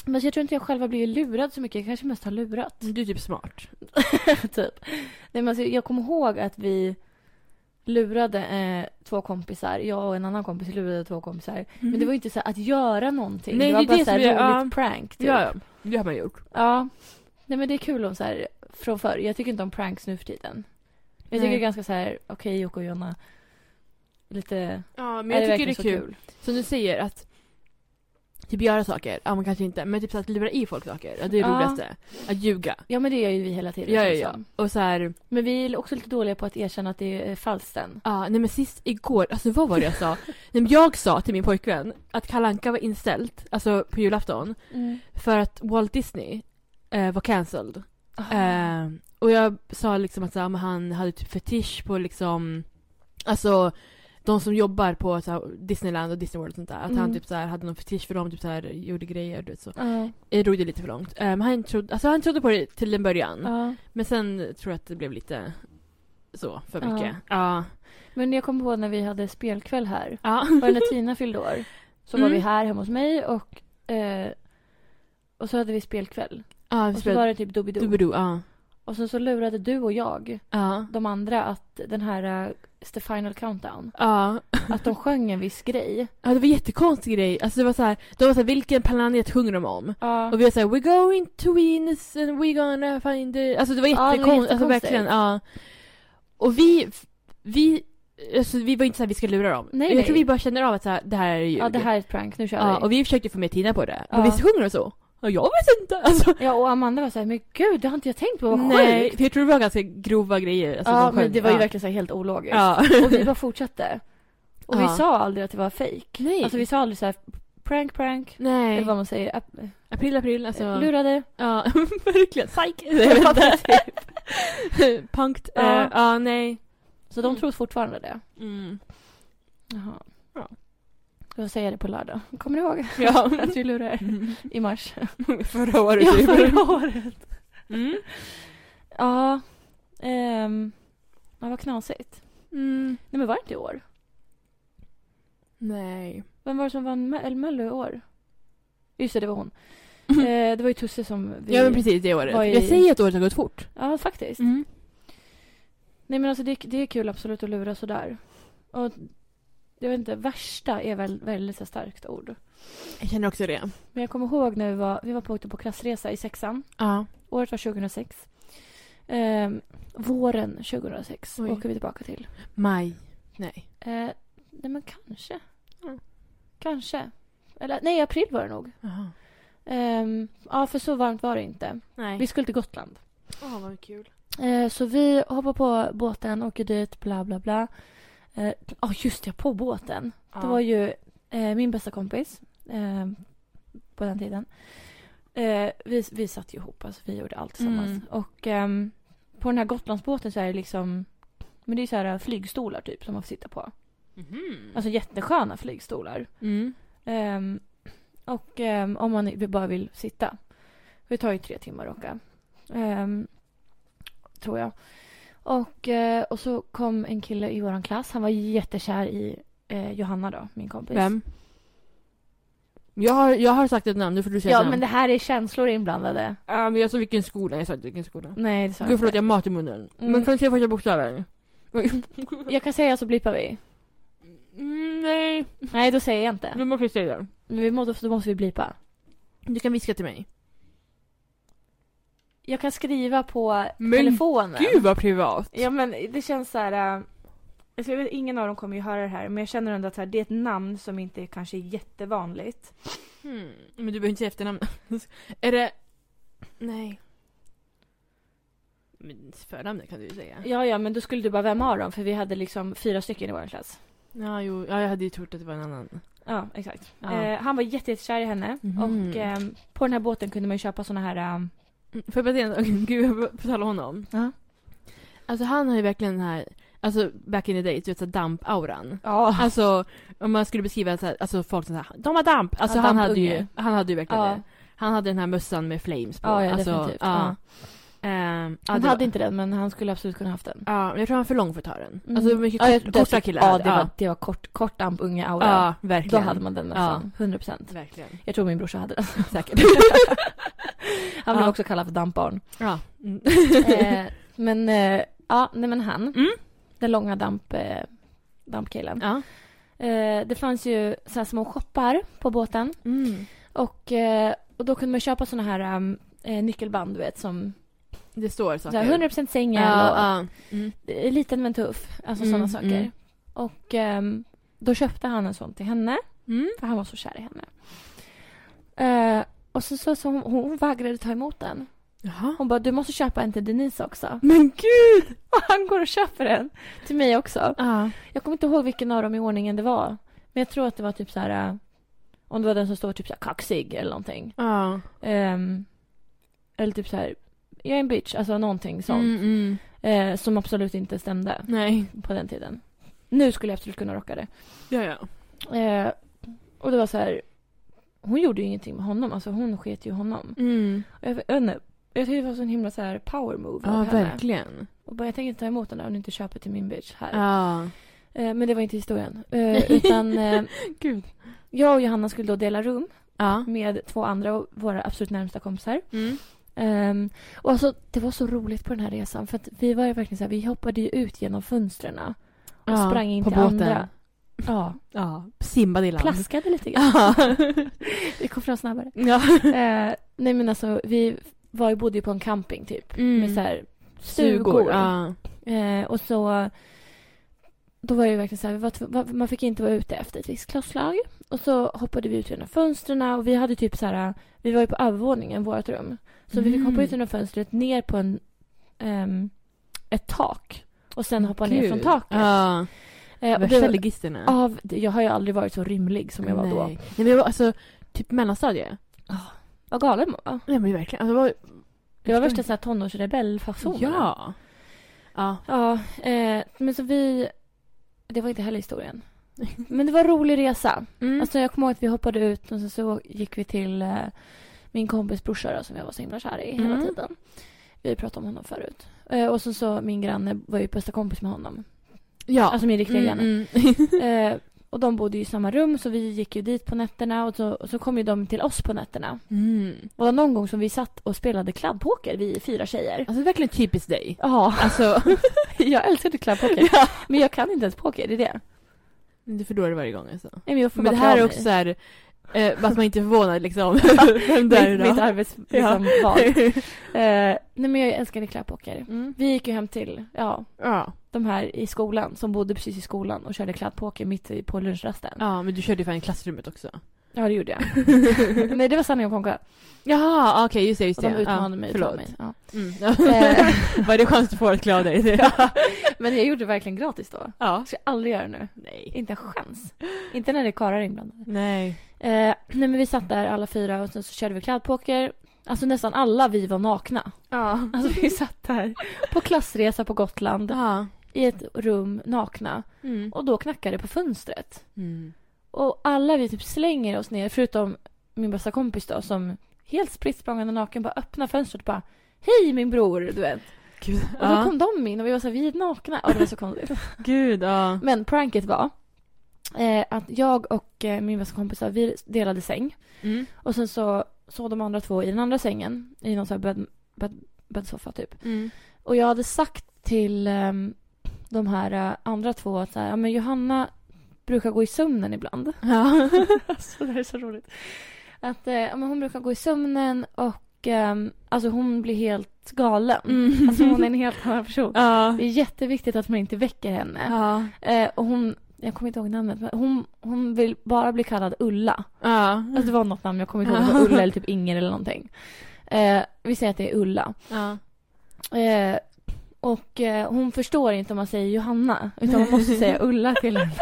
S1: Men jag tror inte jag själv har blivit lurad så mycket. Jag kanske mest har lurat.
S2: Du är typ smart.
S1: typ. Nej, men alltså, jag kommer ihåg att vi lurade eh, två kompisar. Jag och en annan kompis lurade två kompisar. Men
S2: Mm.
S1: det var ju inte så här att göra någonting.
S2: Nej,
S1: Mm. det var
S2: det är
S1: bara
S2: det
S1: så här
S2: som jag-
S1: roligt prank. Typ.
S2: Ja, ja. Det har man gjort.
S1: Ja. Nej men det är kul om så här från förr. Jag tycker inte om pranks nu för tiden. Jag tycker
S2: Nej.
S1: det är ganska så här, okej Jocke och Jonna. Lite...
S2: Ja, men
S1: Är
S2: jag
S1: det
S2: tycker det är
S1: verkligen så
S2: kul. Som du säger att typ göra saker, ja man kanske inte, men typ så att lura i folk saker, ja, det är det
S1: Ja.
S2: roligaste. Att ljuga.
S1: Ja men det gör ju vi hela tiden.
S2: Ja, ja,
S1: känns
S2: ja.
S1: som.
S2: Och så här,
S1: Men vi är också lite dåliga på att erkänna att det är falskt sen.
S2: ja, nej men sist igår, alltså vad var det jag sa? nej, men jag sa till min pojkvän att Kalle Anka var inställt, alltså på julafton, för att Walt Disney eh, var cancelled.
S1: Ah.
S2: Eh, och jag sa liksom att så här, men han hade typ fetisch på liksom, alltså de som jobbar på så här, Disneyland och Disney World och sånt där. Att han
S1: Mm.
S2: typ så här, hade någon fetisch för dem, typ så här, gjorde grejer du vet så.
S1: Ja.
S2: Jag drog det lite för långt. Eh, Men han, trodde, alltså han trodde på det till en början.
S1: Ja.
S2: Men sen tror jag att det blev lite så för
S1: Ja.
S2: mycket. Ja.
S1: Men jag kommer ihåg när vi hade spelkväll här.
S2: Ja.
S1: Var det när Tina fyllde år? Så
S2: Mm.
S1: var vi här hemma hos mig och... Eh, och så hade vi spelkväll.
S2: Ja,
S1: Och
S2: vi
S1: så var
S2: spelade
S1: det typ Doobidoo.
S2: Doobidoo. Ja.
S1: Och sen så lurade du och jag
S2: Ja.
S1: de andra att den här eh, The Final Countdown,
S2: Ja.
S1: att de sjöng en viss grej.
S2: ja, det var en jättekonstig grej. Alltså det var så här, de var så här, vilken planet sjunger de om?
S1: Ja.
S2: Och vi var såhär, we're going to Venus and we're gonna find the... Alltså det var
S1: Ja, det var
S2: jättekonstigt. alltså
S1: jättekonstigt.
S2: verkligen. Ja. Och vi, vi, alltså vi var inte såhär, vi ska lura dem.
S1: Nej,
S2: jag
S1: nej.
S2: tror vi bara känner av att så här, det här är ljug.
S1: ja, det här är ett prank, nu kör
S2: Ja,
S1: vi.
S2: och vi försökte få med Tina på det.
S1: Ja.
S2: Men visst sjunger de så? Ja, jag vet inte. Alltså,
S1: Ja, och Amanda var så här, men gud, det har inte jag tänkt på, vad
S2: nej,
S1: sjukt.
S2: för jag tror det var ganska grova grejer. Alltså,
S1: ja,
S2: de sjöng.
S1: men det var ju
S2: Ja.
S1: verkligen så här helt ologiskt.
S2: Ja.
S1: Och vi bara fortsatte. Och vi
S2: Ja.
S1: sa aldrig att det var fake.
S2: Nej.
S1: Alltså vi sa aldrig så här, prank, prank.
S2: nej.
S1: Eller vad man säger, ap-
S2: April, april. Alltså.
S1: lurade.
S2: Ja, verkligen. Psyk. Jag vet inte. Punkt.
S1: Ja.
S2: Ja, ja nej.
S1: Så de
S2: Mm.
S1: tror fortfarande det.
S2: Mm.
S1: Jaha.
S2: Ja.
S1: Jag säger det på lördag. Kommer du ihåg
S2: Ja.
S1: att vi lurar i mars?
S2: förra året.
S1: Ja,
S2: typ.
S1: förra året.
S2: Mm.
S1: Ja. Um, ja, vad knasigt.
S2: Mm.
S1: Nej, men var det inte i år?
S2: Nej.
S1: Vem var det som vann Mö- eller Mello i år? Just det, det var hon. Eh, det var ju Tusse som vi...
S2: Mm. Ja, men precis det året.
S1: var i-
S2: Jag säger att året har gått fort.
S1: Ja, faktiskt. Nej, men alltså det, det är kul absolut att lura sådär. Och jag vet inte, värsta är väl väldigt så här starkt ord.
S2: Jag känner också det.
S1: Men jag kommer ihåg när vi var, vi var på, ute på klassresa i sexan.
S2: Ja.
S1: Året var 2006. Ehm, våren 2006
S2: Oj.
S1: åker vi tillbaka till.
S2: Maj. Nej.
S1: Eh, nej, men kanske.
S2: Mm.
S1: Kanske. Eller nej, april var det nog.
S2: Jaha.
S1: Ehm, ja, för så varmt var det inte.
S2: Nej.
S1: Vi skulle till Gotland.
S2: Åh, vad kul.
S1: Eh, så vi hoppar på båten, åker dit, bla bla bla. Ja, eh, ja, just det, på båten. Det var ju eh, min bästa kompis eh, på den tiden. Eh, vi, vi satt ju ihop, alltså, vi gjorde allt tillsammans.
S2: Mm.
S1: Och ehm, på den här Gotlandsbåten så är det liksom men det är så här flygstolar typ som man får sitta på. Alltså jättesköna flygstolar.
S2: Mhm. Mm.
S1: Ehm, och ehm, om man i- bara vill sitta. Det tar ju tre timmar att åka. Ehm, tror jag. Och, eh, och så kom en kille i vår klass. Han var jättekär i eh, Johanna då, min kompis.
S2: Vem? Jag har, jag har sagt ett namn, nu får du säga
S1: Ja,
S2: ett namn.
S1: men det här är känslor inblandade.
S2: Ja, men jag sa vilken skola, jag sa inte vilken skola.
S1: Nej, det sa jag
S2: Gud förlåt,
S1: inte.
S2: jag har mat i munnen.
S1: Mm.
S2: Men kan du säga första bokstaven?
S1: Jag kan säga så blippar vi.
S2: Mm, nej,
S1: Nej, då säger jag inte.
S2: du måste säga det.
S1: Men vi måste, då måste vi blippa.
S2: Du kan viska till mig.
S1: Jag kan skriva på
S2: Men
S1: telefonen.
S2: Gud vad privat!
S1: Ja men det känns så här. äh, Alltså jag vet, ingen av dem kommer ju höra det här men jag känner ändå att så här, det är ett namn som inte är kanske är jättevanligt.
S2: Hmm. Men du behöver inte säga efternamn. är det... Nej. Men förnamnet kan du ju säga.
S1: Ja ja men då skulle du bara, vem har dem? För vi hade liksom fyra stycken i vår klass.
S2: Ja, jo, ja, jag hade ju trott att det var en annan.
S1: Ja exakt.
S2: Ja.
S1: Eh, han var jätte, jättekär i henne
S2: Mhm.
S1: och ehm, på den här båten kunde man ju köpa såna här ehm,
S2: Mm, Får jag bara säga en sak? Gud, jag får tala om honom.
S1: Ja.
S2: Alltså han har ju verkligen den här, alltså back in the days, du vet såhär damp-auran.
S1: Ja.
S2: Alltså om man skulle beskriva så här, alltså folk som såhär, de har damp! Alltså
S1: Ja,
S2: han, hade
S1: dampunge.
S2: ju, han hade ju verkligen
S1: Ja.
S2: det. Han hade den här mössan med flames på.
S1: Ja, ja,
S2: alltså,
S1: definitivt.
S2: Ja. Ehm, ja,
S1: Han
S2: det
S1: hade
S2: var-
S1: inte den men han skulle absolut kunna haft den.
S2: Ja, men jag tror han var för lång för att ta den.
S1: Mm.
S2: Alltså mycket
S1: Ja,
S2: kort,
S1: jag-
S2: korta
S1: definitivt.
S2: killar.
S1: Ja det
S2: hade-
S1: var, det var kort, kort amp, unga aura.
S2: ja,
S1: Då
S2: verkligen.
S1: hade man den nästan, 100%.
S2: Verkligen.
S1: Jag tror min brorsa hade den.
S2: Säkert.
S1: Han blev
S2: Ja.
S1: också kallad för dampbarn.
S2: ja. Mm.
S1: eh, men, eh, ja, nej men han.
S2: Mm.
S1: Den långa damp, eh, dampkillen.
S2: ja.
S1: Eh, det fanns ju så här små shoppar på båten.
S2: Mm.
S1: Och, eh, och då kunde man köpa såna här um, eh, nyckelband, du vet, som
S2: Det står
S1: så
S2: saker.
S1: här, 100% sängel och
S2: ja, ja. Mm.
S1: eh, liten men tuff. Alltså
S2: Mm,
S1: såna saker.
S2: mm.
S1: Och ehm, då köpte han en sån till henne,
S2: Mm.
S1: för han var så kär i henne. Eh, och så, så, så hon, hon vägrade ta emot den.
S2: Jaha.
S1: Hon bara, du måste köpa en till Denise också.
S2: Men gud!
S1: Och han går och köper en till mig också.
S2: Ja.
S1: Jag kommer inte ihåg vilken av dem i ordningen det var. Men jag tror att det var typ så här. äh, Om det var den som står typ så här kaxig eller någonting.
S2: Ja.
S1: Ehm, eller typ så här. Jag är en bitch, alltså någonting sånt.
S2: Mm, mm.
S1: Eh, som absolut inte stämde
S2: Nej.
S1: på den tiden. Nu skulle jag absolut kunna rocka det.
S2: Ja, ja.
S1: Eh, och det var så här. Hon gjorde ju ingenting med honom, alltså hon sket ju honom.
S2: Mm.
S1: Och jag, jag, vet inte, jag tyckte det var så en himla så här power move
S2: Ja,
S1: av henne.
S2: verkligen.
S1: Och bara, jag tänker inte ta emot den där om du inte köper till min bitch här.
S2: Ja.
S1: Eh, men det var inte historien. Eh, utan eh,
S2: Gud.
S1: jag och Johanna skulle då dela rum
S2: Ja.
S1: med två andra av våra absolut närmsta kompisar.
S2: Mm.
S1: Ehm, och alltså, det var så roligt på den här resan för att vi var ju verkligen så här, vi hoppade ju ut genom fönstren och
S2: Ja,
S1: sprang in
S2: på
S1: till
S2: båten.
S1: andra. Ja,
S2: Ja. Simbad i land.
S1: plaskade lite grann.
S2: Ja.
S1: Vi kom fram snabbare.
S2: ja.
S1: Eh, nej men alltså, vi var ju, bodde ju på en camping typ
S2: Mm.
S1: med så här stugor.
S2: Ja.
S1: Eh, och så då var det ju verkligen så här, vi var, tv- var- man fick inte vara ute efter ett visst klockslag. Och så hoppade vi ut genom fönstren och vi hade typ så här, vi var ju på övervåningen, vårt rum. Så vi fick
S2: Mm.
S1: hoppa ut genom fönstret ner på en, ehm, ett tak och sen hoppa ner
S2: Gud.
S1: från taket.
S2: Ja.
S1: Eh, och
S2: Värsta
S1: det,
S2: ligisterna.
S1: av, jag har ju aldrig varit så rymlig som jag var
S2: Nej.
S1: då.
S2: Nej men jag var alltså, typ mellanstadie.
S1: Vad galen man var.
S2: Nej men verkligen. Alltså, det var,
S1: Jag var värsta så här tonårsrebellfasonerna.
S2: Ja. Ja.
S1: Ja, eh, men så vi... Det var inte heller historien. Men det var en rolig resa.
S2: Mm.
S1: Alltså jag kommer ihåg att vi hoppade ut och sen så gick vi till eh, min kompis brorsa då, som jag var så himla kär i hela
S2: Mm.
S1: tiden. Vi pratade om honom förut. Eh, och sen så min granne var ju bästa kompis med honom.
S2: ja.
S1: Alltså min riktiga granne.
S2: mm.
S1: Eh, och de bodde ju i samma rum så vi gick ju dit på nätterna och så, och så kom ju de till oss på nätterna.
S2: mm.
S1: Och det var någon gång som vi satt och spelade kladdpoker, vi fyra tjejer.
S2: Alltså verkligen typiskt dig.
S1: Ja,
S2: Alltså.
S1: jag älskade kladdpoker.
S2: ja.
S1: Men jag kan inte ens poker, det är det.
S2: Du förlorar varje gång alltså.
S1: Nej, Men, jag får
S2: Men det
S1: bara
S2: här
S1: dra
S2: är
S1: mig.
S2: också såhär, eh, fast man inte är förvånad liksom. Vem där
S1: mitt,
S2: då?
S1: mitt arbets, liksom, val. Eh, nej men jag älskade kladdpoker.
S2: mm.
S1: Vi gick ju hem till, ja,
S2: ja.
S1: de här i skolan som bodde precis i skolan och körde kladdpoker mitt i- på lunchrasten.
S2: ja, men du körde ju fan i klassrummet också.
S1: Ja, det gjorde jag. Nej, det var sanning om Konka.
S2: Jaha, okej just det, just
S1: Och
S2: det.
S1: de utmanade
S2: ja,
S1: mig.
S2: Förlåt.
S1: Mig. Ja.
S2: Mm.
S1: Eh,
S2: Var det chans att få att klä av dig?
S1: Ja. Men jag gjorde det verkligen gratis då.
S2: ja.
S1: Det ska jag aldrig göra nu.
S2: Nej.
S1: Inte en chans. Inte när det är karlar inblandade.
S2: Nej.
S1: Eh, nej, men vi satt där alla fyra och sen så körde vi klädpoker. Alltså nästan alla vi var nakna.
S2: Ja.
S1: Alltså vi satt där på klassresa på Gotland
S2: Ja.
S1: i ett rum nakna.
S2: Mm.
S1: Och då knackade det på fönstret.
S2: Mm.
S1: Och alla vi typ slänger oss ner, förutom min bästa kompis då som helt spritt språngande naken bara öppnar fönstret och bara Hej min bror, du vet.
S2: Gud.
S1: Och då kom de in och vi var så här, vi är nakna. Ja, det var så konstigt.
S2: Gud, ja.
S1: Men pranket var eh, att jag och eh, min bästa kompis vi delade säng.
S2: Mm.
S1: Och sen så såg de andra två i den andra sängen, i någon sån här bädd, bädd, bäddsoffa typ.
S2: Mm.
S1: Och jag hade sagt till ehm, de här eh, andra två att så här, ja, men Johanna brukar gå i sömnen ibland.
S2: Ja.
S1: alltså, det här är så roligt. Att eh, ja, men hon brukar gå i sömnen och ehm, alltså hon blir helt galen.
S2: Mm.
S1: Alltså hon är en helt annan person.
S2: Ja.
S1: Det är jätteviktigt att man inte väcker henne.
S2: Ja.
S1: Eh, och hon, jag kommer inte ihåg namnet, men hon, hon vill bara bli kallad Ulla.
S2: Ja.
S1: Alltså det var något namn, jag kommer inte ihåg om det var Ulla eller typ Inger eller någonting. Eh, vi säger att det är Ulla.
S2: Ja.
S1: Eh, och eh, hon förstår inte om man säger Johanna, utan man måste säga Ulla till henne.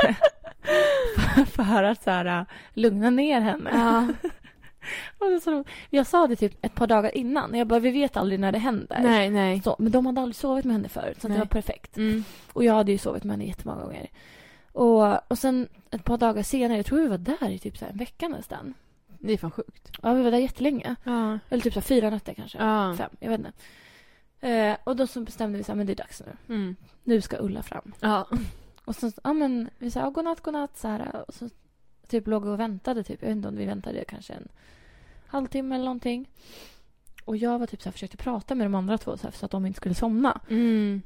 S1: för, för att så här, eh, lugna ner henne.
S2: Ja.
S1: Och det är så roligt. jag sa det typ ett par dagar innan, jag bara vi vet aldrig när det händer.
S2: Nej, nej.
S1: Så, men de hade aldrig sovit med henne förut, så att det
S2: Nej.
S1: var perfekt.
S2: Mm.
S1: Och jag hade ju sovit med henne jättemånga gånger. Och, och sen ett par dagar senare, jag tror vi var där i typ så här en vecka nästan.
S2: Det är fan sjukt.
S1: Ja, vi var där jättelänge.
S2: Ja.
S1: Eller typ så här fyra nätter kanske.
S2: Ja.
S1: Fem, jag vet inte. Eh, och då så bestämde vi så här, men det är dags nu.
S2: Mm.
S1: Nu ska Ulla fram.
S2: Ja.
S1: Och så, ja men vi sa, ja, godnatt, godnatt så här. Och så typ låg vi och väntade typ. Jag vet inte om vi väntade kanske en halvtimme eller någonting. Och jag var typ så här, försökte prata med de andra två så, här, så att de inte skulle somna.
S2: Mm.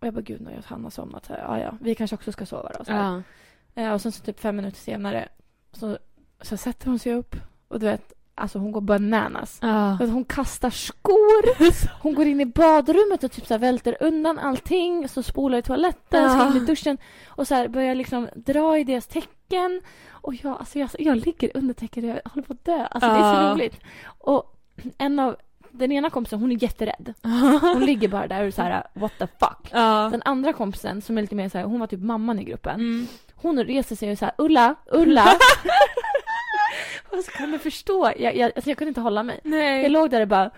S1: Och jag bara, gud nu har Hanna somnat. Så här, ja, ja, vi kanske också ska sova då. Så här.
S2: Ja.
S1: Eh, och sen så typ fem minuter senare så, så sätter hon sig upp och du vet, alltså hon går bananas.
S2: Ja.
S1: Alltså, hon kastar skor, hon går in i badrummet och typ så här välter undan allting, så spolar i toaletten, ska in i duschen och så här börjar liksom dra i deras tecken. Och jag, alltså jag, jag ligger under täcket och jag håller på att dö. Alltså det är
S2: Ja.
S1: så roligt. Och en av, den ena kompisen hon är jätterädd. Hon ligger bara där och så här what the fuck.
S2: Ja.
S1: Den andra kompisen som är lite mer så här, hon var typ mamman i gruppen.
S2: Mm.
S1: Hon reser sig och så här, Ulla, Ulla. och så kan du förstå, jag, jag, alltså jag kunde inte hålla mig. Jag
S2: Nej.
S1: låg där och bara,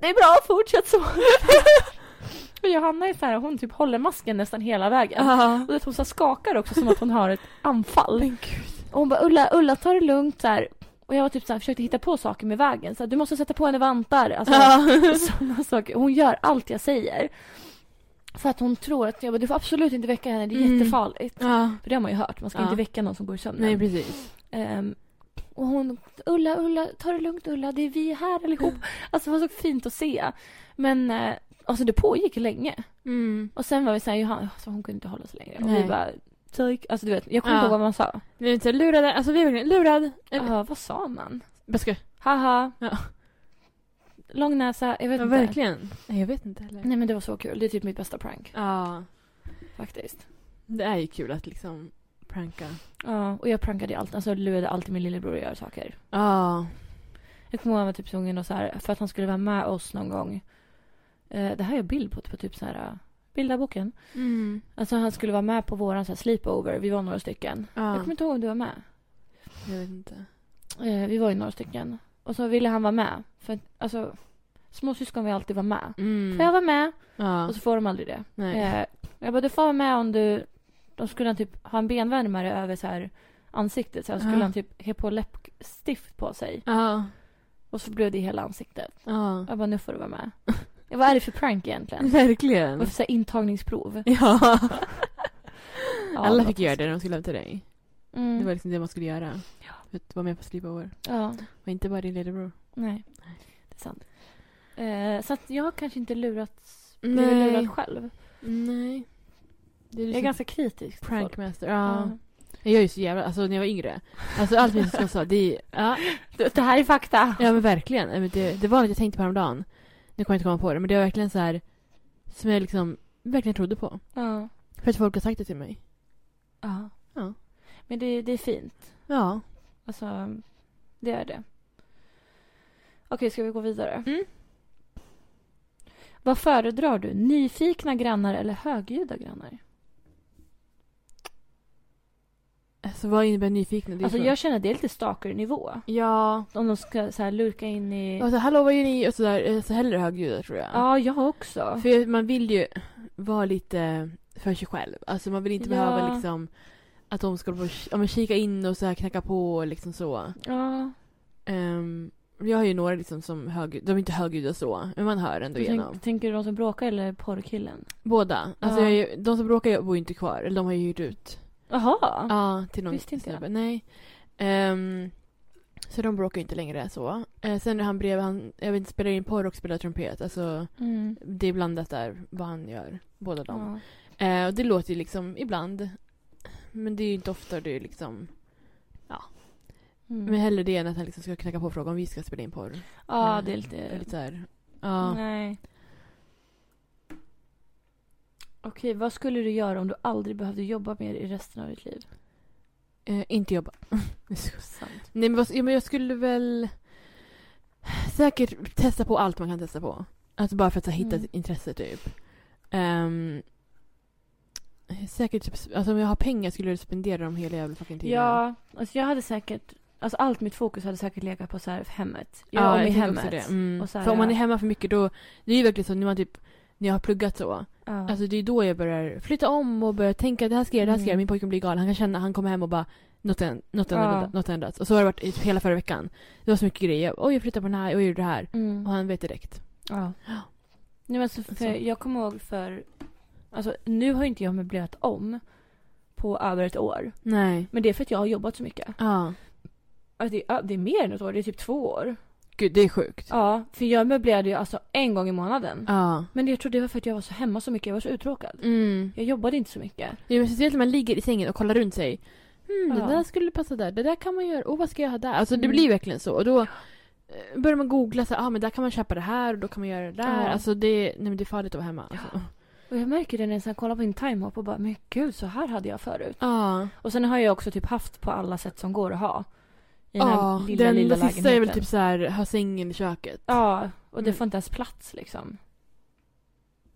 S1: det är bra, fortsätt så. och Johanna är så här, hon typ håller masken nästan hela vägen.
S2: Ja.
S1: Och att hon så här skakar också som att hon har ett anfall.
S2: Men gud.
S1: Och hon bara, Ulla, Ulla ta det lugnt så här. Och jag var typ så här, försökte hitta på saker med vägen. Så här, du måste sätta på henne vantar. Alltså, sådana saker. Hon gör allt jag säger. För att hon tror att, jag bara, du får absolut inte väcka henne, det är
S2: Mm.
S1: jättefarligt.
S2: Ja.
S1: För det har man ju hört, man ska
S2: Ja.
S1: inte väcka någon som går i sömnen.
S2: Nej, precis.
S1: Ehm, och hon, Ulla, Ulla, ta det lugnt Ulla, det är vi här allihop. Alltså det var så fint att se. Men eh, alltså det pågick länge.
S2: Mm.
S1: Och sen var vi såhär, Johanna, alltså, hon kunde inte hålla sig längre. Och
S2: Nej.
S1: vi bara, take. Alltså du vet, jag kommer inte ihåg
S2: Ja.
S1: vad man sa.
S2: Vi är inte lurade. Alltså vi är verkligen lurad. Eh,
S1: Ja,
S2: Ja.
S1: vad sa man?
S2: Baske.
S1: Haha.
S2: Ja.
S1: Lång näsa, jag vet
S2: Ja,
S1: inte.
S2: verkligen. Nej, jag vet inte heller.
S1: Nej men det var så kul, det är typ mitt bästa prank
S2: Ja.
S1: faktiskt.
S2: Det är ju kul att liksom pranka.
S1: Ja, och jag prankade ju allt, alltså lurade alltid min lillebror att göra saker.
S2: Ja.
S1: Jag kommer ihåg han var typ tvungen och så här, för att han skulle vara med oss någon gång. Eh, det här är bild på, på typ så här, eh, bildarboken.
S2: Mm.
S1: Alltså han skulle vara med på våran så här sleepover, vi var några stycken. Jag
S2: Ja.
S1: kommer inte ihåg om du var med.
S2: Jag vet inte.
S1: Eh, vi var ju några stycken. Och så ville han vara med. För att, alltså, småsyskon vill alltid vara med.
S2: Mm.
S1: Får jag vara med?
S2: Ja.
S1: Och så får de aldrig det.
S2: Nej.
S1: Eh, jag bara, du får vara med om du... Då skulle han typ ha en benvärmare över så här ansiktet. Så här, skulle
S2: Ja.
S1: han typ ha på läppstift på sig.
S2: Ja.
S1: Och så blev det i hela ansiktet.
S2: Ja.
S1: Jag bara, nu får du vara med. Jag bara, vad är det för prank egentligen?
S2: Verkligen.
S1: Varför så här intagningsprov?
S2: Ja.
S1: Ja,
S2: Alla
S1: var
S2: fick göra
S1: konstigt.
S2: det när de skulle hem till dig.
S1: Mm.
S2: Det var liksom det man skulle göra. För att vara med på sleepover.
S1: Ja,
S2: Och inte bara din lillebror.
S1: nej. Det är sant. Eh, så att jag har kanske inte lurats,
S2: Nej.
S1: blivit lurad själv.
S2: Nej. Det är,
S1: Jag är ganska kritisk. till folk.
S2: prankmaster. Ja.
S1: Ja.
S2: Jag är ju så jävla, alltså när jag var yngre. Alltså allt mina syskon sa, det är, ja,
S1: Det det här är fakta.
S2: ja men verkligen. Nej, Men det, det var något jag tänkte på häromdagen. Nu kommer jag inte komma på det, men det var verkligen så här som jag liksom verkligen trodde på.
S1: Ja.
S2: För att folk har sagt det till mig.
S1: Ja.
S2: Ja.
S1: Men det, det är fint.
S2: Ja.
S1: Alltså, det är det. Okej, ska vi gå vidare?
S2: Mm.
S1: Vad föredrar du? Nyfikna grannar eller högljudda grannar?
S2: Alltså vad innebär nyfikna? Det är
S1: Alltså
S2: så-
S1: jag känner att det är lite stalker-nivå.
S2: Ja.
S1: Om de ska så här lurka in i...
S2: Alltså hallå vad gör ni? Och sådär. Alltså hellre högljudda tror jag.
S1: Ja, jag också.
S2: För man vill ju vara lite för sig själv. Alltså man vill inte
S1: Ja.
S2: behöva liksom att de ska hålla på och ki- ja, men kika in och så här knacka på och liksom så.
S1: Ja,
S2: Ehm, jag har ju några liksom som hög, de är inte högljudda så, men man hör ändå
S1: du tänk,
S2: igenom.
S1: tänker du de som bråkar eller porrkillen?
S2: Båda. Alltså
S1: Ja.
S2: jag är ju- de som bråkar bor ju inte kvar, eller de har ju hyrt ut.
S1: Jaha!
S2: Ja, till någon
S1: Visste inte jag.
S2: snubbe. Nej. Ehm, så de bråkar ju inte längre så. Eh, sen är han bredvid, han, jag vet inte, spelar in porr och spelar trumpet. Alltså
S1: Mm.
S2: det är blandat där vad han gör, båda de.
S1: Ja.
S2: Eh, och det låter ju liksom ibland. Men det är ju inte ofta det är liksom.
S1: Mm.
S2: Men hellre det än att han liksom ska knacka på och fråga om vi ska spela in porr.
S1: ja, det är lite...
S2: Eller lite så här. Ja.
S1: Nej. Okej, vad skulle du göra om du aldrig behövde jobba mer i resten av ditt liv?
S2: Eh, inte jobba.
S1: Sant.
S2: Nej men, vad, ja, men jag skulle väl säkert testa på allt man kan testa på. Alltså bara för att så, här hitta
S1: Mm.
S2: ett intresse typ. Ehm, säkert, typ- alltså om jag har pengar skulle jag spendera dem hela jävla fucking tiden.
S1: Ja, alltså jag hade säkert... Alltså allt mitt fokus hade säkert legat på så här hemmet. Jag om i
S2: jag tänker också
S1: hemmet.
S2: Det. Mm.
S1: Och så här-
S2: för om man är hemma för mycket då, det är ju verkligen så när man typ, när jag har pluggat så.
S1: Ja.
S2: Alltså det är då jag börjar flytta om och börjar tänka det här ska jag göra, det här ska jag göra. Min pojke blir galen. Han kan känna, han kommer hem och bara något har något
S1: Ja.
S2: ändrat, något har ändrats. Och så har det varit i hela förra veckan. Det var så mycket grejer. Oj jag flyttar på den här, oj jag gjorde det här.
S1: mm.
S2: Och han vet direkt.
S1: Ja. Nej, men alltså, för
S2: Så.
S1: Jag kommer ihåg för... Alltså, nu har inte jag möblerat om på över ett år.
S2: Nej.
S1: Men det är för att jag har jobbat så mycket.
S2: Ja.
S1: Alltså, det, är, ja, det är mer än ett år, det är typ två år.
S2: Gud det är sjukt.
S1: Ja, för jag möblerade ju alltså en gång i månaden.
S2: Ja.
S1: Men jag tror det var för att jag var så hemma så mycket, jag var så uttråkad.
S2: Mm.
S1: Jag jobbade inte så mycket.
S2: Ja, men speciellt när man ligger i sängen och kollar runt sig. Hmm,
S1: Ja.
S2: Det där skulle passa där, det där kan man göra, oh, vad ska jag ha där? Alltså det
S1: Mm.
S2: blir verkligen så. Och då eh, börjar man googla, så här, ah, men där kan man köpa det här och då kan man göra det där.
S1: Ja.
S2: Alltså det, nej, men det är farligt att vara hemma. Alltså.
S1: Och jag märker det när jag sen kollar på min timehop och bara, men gud så här hade jag förut.
S2: Ja.
S1: Och sen har jag också typ haft på alla sätt som går att ha. I den
S2: Ja,
S1: här lilla,
S2: den
S1: lilla
S2: sista är väl
S1: lägenheten.
S2: typ så här, ha sängen i köket.
S1: Ja, och det
S2: Mm.
S1: får inte ens plats liksom.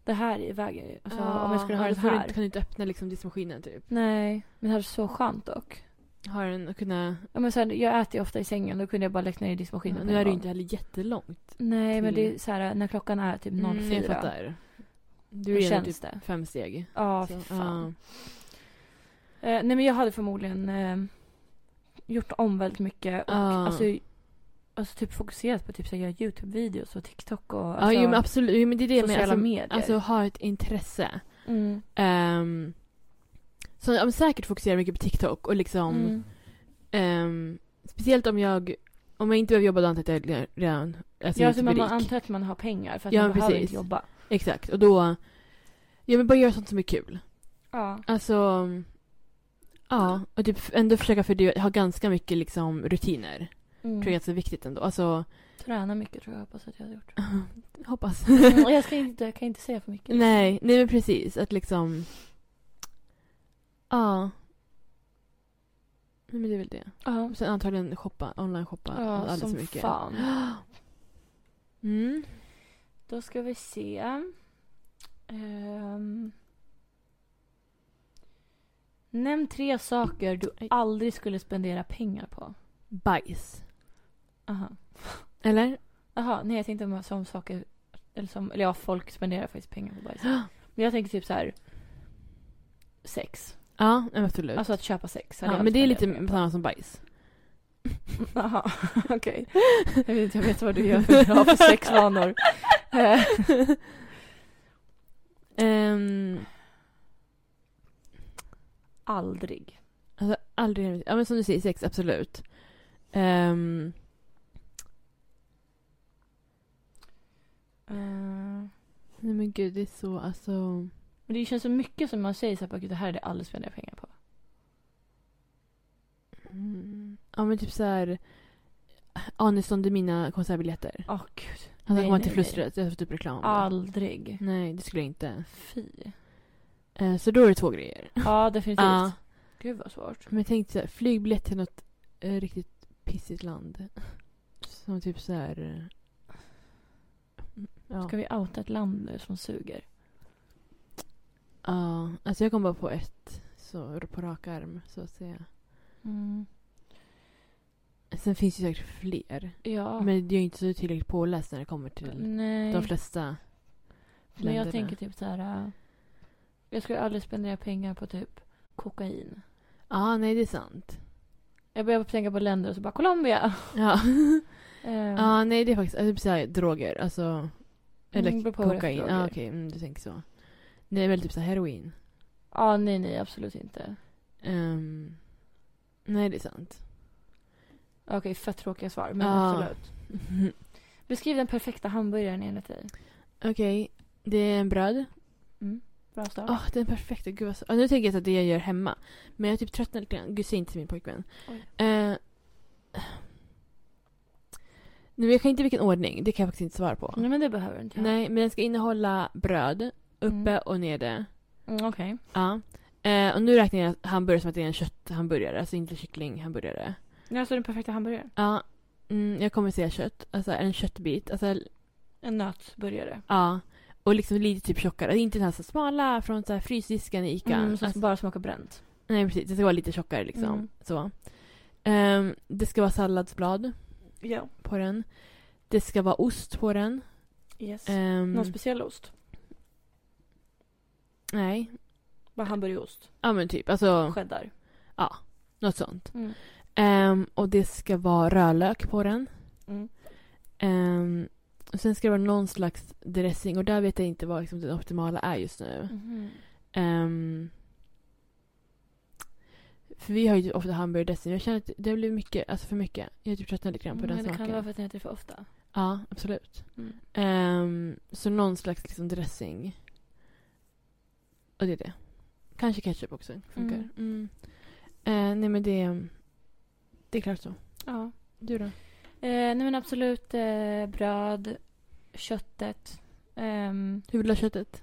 S1: Det här i vägen ju. alltså,
S2: Ja,
S1: om jag skulle ha den
S2: och då får du
S1: här.
S2: inte, kan du inte öppna liksom diskmaskinen typ.
S1: Nej, men det här är så skönt dock.
S2: Har den och kunna...
S1: Ja, men så här, jag äter ju ofta i sängen, då kunde jag bara lägga ner i diskmaskinen. på
S2: Nu
S1: en
S2: är det ju
S1: gång.
S2: inte heller jättelångt.
S1: Nej, men
S2: till-
S1: det är så här när klockan är typ 04.
S2: Mm, jag fattar. Du
S1: Då
S2: är ändå
S1: känns
S2: typ
S1: det.
S2: fem steg.
S1: Ja,
S2: Så,
S1: fy fan. Eh, nej, men jag hade förmodligen eh, gjort om väldigt mycket. Och,
S2: Ja.
S1: alltså, alltså typ fokuserat på typ så här, göra Youtube-videos och TikTok och
S2: Ja,
S1: alltså,
S2: jo, men absolut. Jo, men det är det jag menar.
S1: sociala
S2: Alltså,
S1: medier.
S2: alltså ha ett intresse.
S1: mm.
S2: Um, så jag säkert fokuserar mycket på TikTok och liksom
S1: Mm.
S2: ehm, Speciellt om jag Om jag inte behöver jobba då antar jag att jag redan alltså,
S1: Ja,
S2: jag
S1: alltså,
S2: är
S1: man,
S2: typ
S1: man
S2: rik.
S1: antar att man har pengar för att
S2: Ja,
S1: man
S2: men
S1: behöver
S2: precis.
S1: inte jobba.
S2: Exakt, och då... Jag vill bara göra sånt som är kul.
S1: Ja.
S2: Alltså... Ja, och typ ändå försöka för ha ganska mycket liksom rutiner.
S1: Mm.
S2: Tror jag är ganska viktigt ändå. Alltså,
S1: Träna mycket tror jag hoppas att jag har gjort.
S2: hoppas.
S1: Mm, och jag, ska inte, jag kan inte säga för mycket.
S2: nej, nej men precis. Att liksom... Ja. Nej men det är väl det.
S1: Ja,
S2: Och Sen antagligen shoppa, online-shoppa
S1: ja
S2: alldeles
S1: som
S2: för mycket.
S1: fan.
S2: Mm.
S1: Då ska vi se. Ehm. Nämn tre saker du
S2: Oj.
S1: aldrig skulle spendera pengar på.
S2: Bajs.
S1: Aha.
S2: Eller?
S1: Jaha, nej jag tänkte om- som saker, eller som, eller ja folk spenderar faktiskt pengar på bajs. Men jag tänker typ så här. Sex.
S2: Ja, nej, men absolut.
S1: Alltså att köpa sex. hade
S2: ja,
S1: jag
S2: men det är
S1: spenderat
S2: lite
S1: pengar
S2: samma som bajs.
S1: på. Jaha, okej. Jag, vet, jag vet vad du gör för, har för sexvanor. Eh,
S2: Ehm,
S1: Aldrig.
S2: Alltså aldrig Ja men som du säger, sex absolut. Ehm,
S1: Eh,
S2: nej men gud det är så alltså.
S1: Men det känns så mycket som man säger så här, bara, "Gud, det här är det jag aldrig spenderar pengar på.
S2: Mm, ja men typ såhär. Aniston, det är mina konsertbiljetter.
S1: Åh gud.
S2: Han
S1: Nej,
S2: ska komma
S1: nej,
S2: till
S1: nej.
S2: flustret, jag får typ reklam.
S1: Aldrig.
S2: Nej det skulle jag inte.
S1: Fy.
S2: Eh, så då är det två grejer.
S1: Ja, definitivt.
S2: Ja.
S1: Gud vad svårt.
S2: Men jag tänkte såhär, flygbiljett till något eh, riktigt pissigt land. Som typ så här... eh, Ja.
S1: Ska vi outa ett land nu som suger?
S2: Ja, alltså jag kom bara på ett så på rak arm så att säga.
S1: Mm.
S2: Sen finns det ju säkert fler.
S1: Ja.
S2: Men jag är inte så tillräckligt påläst när det kommer till
S1: Nej.
S2: de flesta
S1: Men jag
S2: länderna.
S1: tänker typ så här. äh, Jag skulle aldrig spendera pengar på typ kokain.
S2: Ja, nej det är sant.
S1: Jag börjar tänka på länder och så bara Colombia.
S2: Ja,
S1: Ehm,
S2: ja nej det är faktiskt alltså, typ såhär droger. Alltså, eller
S1: Mm, beror på vad det är för
S2: kokain. Ja,
S1: droger.
S2: okej. mm, du tänker så. Nej, väl typ såhär heroin.
S1: Ja, nej, nej, absolut inte.
S2: Ehm, nej, det är sant.
S1: Okej, fett tråkiga svar, men
S2: Ja.
S1: absolut. Beskriv den perfekta hamburgaren enligt dig.
S2: okej, det är en bröd.
S1: Mm. Bra start.
S2: Åh, den perfekta. Gud vad så... Ja, nu tänker jag att det jag gör hemma. Men jag har typ tröttnat lite grann. Gud, säg inte till min pojkvän.
S1: Oj.
S2: Eh, nu vet jag inte vilken ordning. Det kan jag faktiskt inte svara på.
S1: Nej, men det behöver du inte göra.
S2: Nej, men den ska innehålla bröd. Uppe
S1: Mm.
S2: och nere.
S1: Mm, Okej.
S2: Ja. Eh, och nu räknar jag hamburgare som att det är en kötthamburgare. Alltså inte kycklinghamburgare.
S1: Okay. Alltså den perfekta hamburgaren.
S2: Ja. Mm, jag kommer säga kött. Alltså en köttbit. Alltså,
S1: En nötburgare.
S2: ja. Och liksom lite typ tjockare. Inte den här så smala från så här frysdisken i Ica.
S1: Mm, som
S2: alltså,
S1: bara smakar bränt.
S2: Nej precis, det ska vara lite tjockare liksom.
S1: Mm.
S2: Så. Ehm, det ska vara salladsblad
S1: Ja.
S2: på den. Det ska vara ost på den.
S1: Yes.
S2: Ehm,
S1: Någon speciell ost?
S2: nej,
S1: Bara hamburgerost?
S2: ja men typ. Alltså
S1: Cheddar?
S2: något sånt.
S1: Mm.
S2: Ehm, och det ska vara rödlök på den.
S1: Mm.
S2: Ehm, och sen ska det vara någon slags dressing och där vet jag inte vad liksom, den optimala är just nu.
S1: Mhm.
S2: Ehm, för vi har ju typ ofta hamburgardressing. Jag känner att det blir mycket, alltså för mycket. Jag är typ tröttnat lite grann på
S1: Mm, Men
S2: den
S1: det
S2: smaken.
S1: kan vara för att den äter för ofta.
S2: Ja, absolut.
S1: Mm.
S2: Ehm, så någon slags liksom dressing. Och det är det. Kanske ketchup också funkar.
S1: Mm.
S2: Mm. Eh, nej men det, det är klart så.
S1: Ja.
S2: Du då?
S1: Eh, nej men absolut eh, bröd, köttet. ehm,
S2: Hur vill du ha köttet?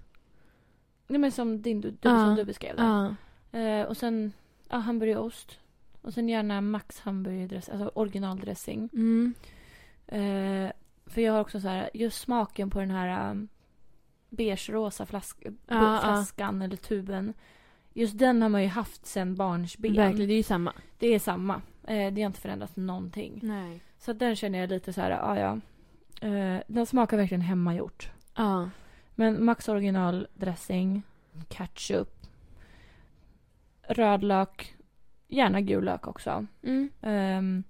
S1: nej men som, din, du, du,
S2: Ja.
S1: som du beskrev det.
S2: Ja.
S1: Eh, och sen ja, hamburgerost. Och sen gärna max hamburgerdressing, alltså originaldressing.
S2: Mm.
S1: Eh, för jag har också så här, just smaken på den här um, beige-rosa flask, eh,
S2: Ja,
S1: flaskan eller tuben. Just den har man ju haft sedan barnsben.
S2: Verkligen, det är ju samma.
S1: Det är samma. Eh, det har inte förändrats någonting.
S2: Nej.
S1: Så att den känner jag lite så här, ja ja. Eh, den smakar verkligen hemmagjort.
S2: Ja.
S1: Men Max original dressing, ketchup, rödlök, gärna gul lök också.
S2: Mm.
S1: Ehm,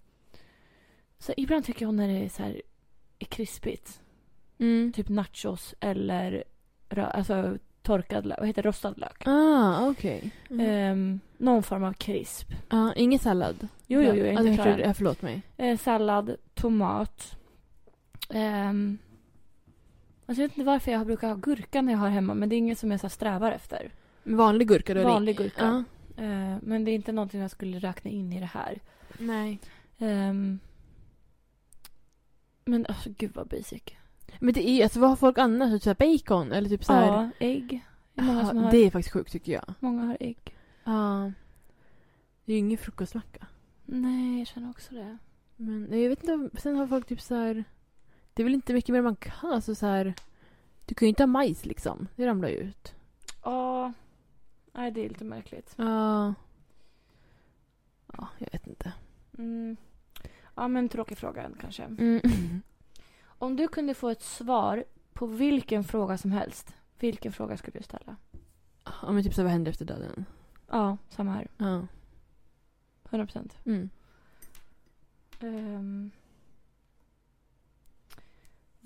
S1: så ibland tycker jag när det är så här är krispigt,
S2: Mm.
S1: typ nachos eller rö- alltså torkad lök, vad heter det? rostad lök.
S2: Ah, okej. Mm.
S1: Ehm, någon form av krisp.
S2: Ja, ingen sallad?
S1: Jo, jo, jo, jag är
S2: Ja, det
S1: inte klar
S2: tror
S1: än.
S2: jag, förlåt mig.
S1: Eh, Sallad, tomat. Ehm, alltså jag vet inte varför jag brukar ha gurka när jag har hemma, men det är inget som jag så här strävar efter.
S2: Vanlig gurka då? eller-
S1: Vanlig gurka.
S2: Ja.
S1: Eh, men det är inte någonting jag skulle räkna in i det här.
S2: Nej.
S1: Ehm, men alltså gud vad basic.
S2: Men det är ju, alltså vad har folk annars? Typ så här bacon eller typ så här?
S1: Ja, ägg. Det är många som
S2: Ja,
S1: har,
S2: Det är faktiskt sjukt tycker jag.
S1: många har ägg.
S2: Ja. Det är ju ingen frukostmacka.
S1: Nej, jag känner också det.
S2: Men nej, jag vet inte, om- sen har folk typ så här... Det är väl inte mycket mer man kan, alltså så här... Du kan ju inte ha majs liksom. Det ramlar ju ut.
S1: Ja. Nej, det är lite märkligt.
S2: Ja. Ja, jag vet inte.
S1: Mm. Ja, men tråkig fråga kanske.
S2: Mm.
S1: Om du kunde få ett svar på vilken fråga som helst, vilken fråga skulle du ställa?
S2: Ja, men typ så här, vad händer efter döden?
S1: Ja, samma här.
S2: Ja.
S1: 100 procent.
S2: Mm.
S1: Ehm.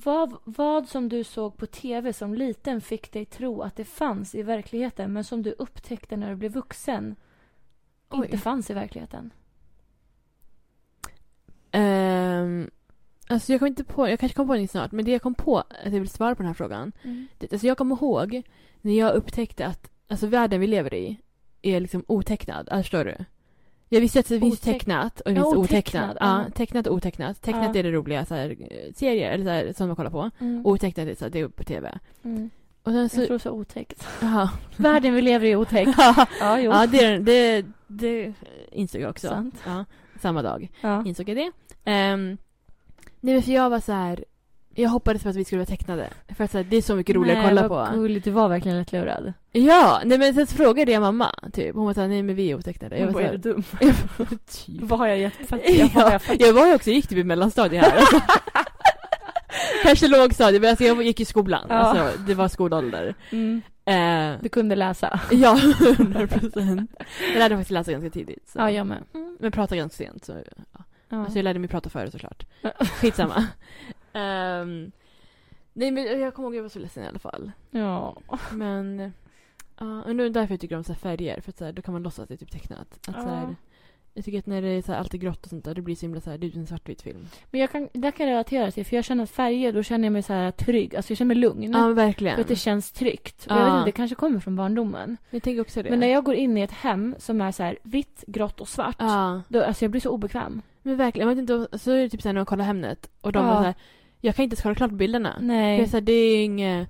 S1: vad, vad som du såg på tv som liten fick dig tro att det fanns i verkligheten men som du upptäckte när du blev vuxen
S2: Oj.
S1: inte fanns i verkligheten?
S2: Ehm, alltså jag kom inte på, jag kanske kom på någonting snart, men det jag kom på att jag vill svara på den här frågan. Det, alltså jag kommer ihåg när jag upptäckte att alltså världen vi lever i är liksom otecknad. Alltså förstår du? Jag visste att det finns
S1: Oteck-
S2: tecknat och det finns
S1: Ja,
S2: otecknat.
S1: otecknad,
S2: Ja,
S1: ja.
S2: tecknat och otecknat. Tecknat
S1: Ja.
S2: är det roliga, så här, eh, serier eller så här, som man kollar på.
S1: Mm.
S2: Otecknat är så här, det är på tv.
S1: Mm.
S2: Och sen
S1: Jag
S2: så...
S1: tror så otäckt.
S2: Ja.
S1: Världen vi lever i är otäckt.
S2: ja,
S1: Ja, jo.
S2: det, är- det, det insåg jag också.
S1: Sant.
S2: Ja. samma dag.
S1: Ja.
S2: Insåg jag det. Ehm, nej men för jag var så här. Jag hoppades på att vi skulle vara tecknade. För att så här, det är så mycket roligare att kolla på.
S1: Gulligt. Du var verkligen lätt lurad.
S2: Ja, nej men sen så frågade jag mamma. Typ. Hon var såhär, nej men vi är otecknade. Jag var
S1: Vad är du
S2: såhär,
S1: dum?
S2: typ.
S1: Vad har jag gett för
S2: Ja, jag var ju också, gick typ i mellanstadiet här. Alltså. Kanske lågstadiet, men alltså jag gick i skolan.
S1: Ja.
S2: Alltså, det var skolålder.
S1: Mm.
S2: Eh,
S1: Du kunde läsa.
S2: ja, 100 procent. Jag lärde mig faktiskt läsa ganska tidigt. Så.
S1: Ja, jag med.
S2: Mm, Men prata ganska sent. Så, ja.
S1: Ja.
S2: Alltså jag lärde mig prata före såklart.
S1: Ja.
S2: Skitsamma. Ehm, nej men jag kommer ihåg att jag var så ledsen i alla fall.
S1: ja.
S2: Men ja, och nu är det därför jag tycker om så här färger. För att så här, då kan man låtsas att det är typ tecknat. Att, så
S1: Ja.
S2: här, jag tycker att när det är så här, allt är grått och sånt där, det blir så himla så här, det är en svartvit film.
S1: Men jag kan, det kan jag relatera till. För jag känner att färger, då känner jag mig så här trygg. Alltså jag känner mig lugn.
S2: Ja, men verkligen.
S1: För att det känns tryggt. Och
S2: Ja.
S1: jag vet inte, det kanske kommer från barndomen.
S2: Jag tänker också det.
S1: Men när jag går in i ett hem som är så här vitt, grått och svart.
S2: Ja,
S1: Då, alltså jag blir så obekväm.
S2: men verkligen. Jag vet inte, så är det typ såhär när man kollar Hemnet och de
S1: Ja.
S2: var såhär, jag kan inte ens kolla klart bilderna. För jag är
S1: Nej.
S2: så här, det är inget,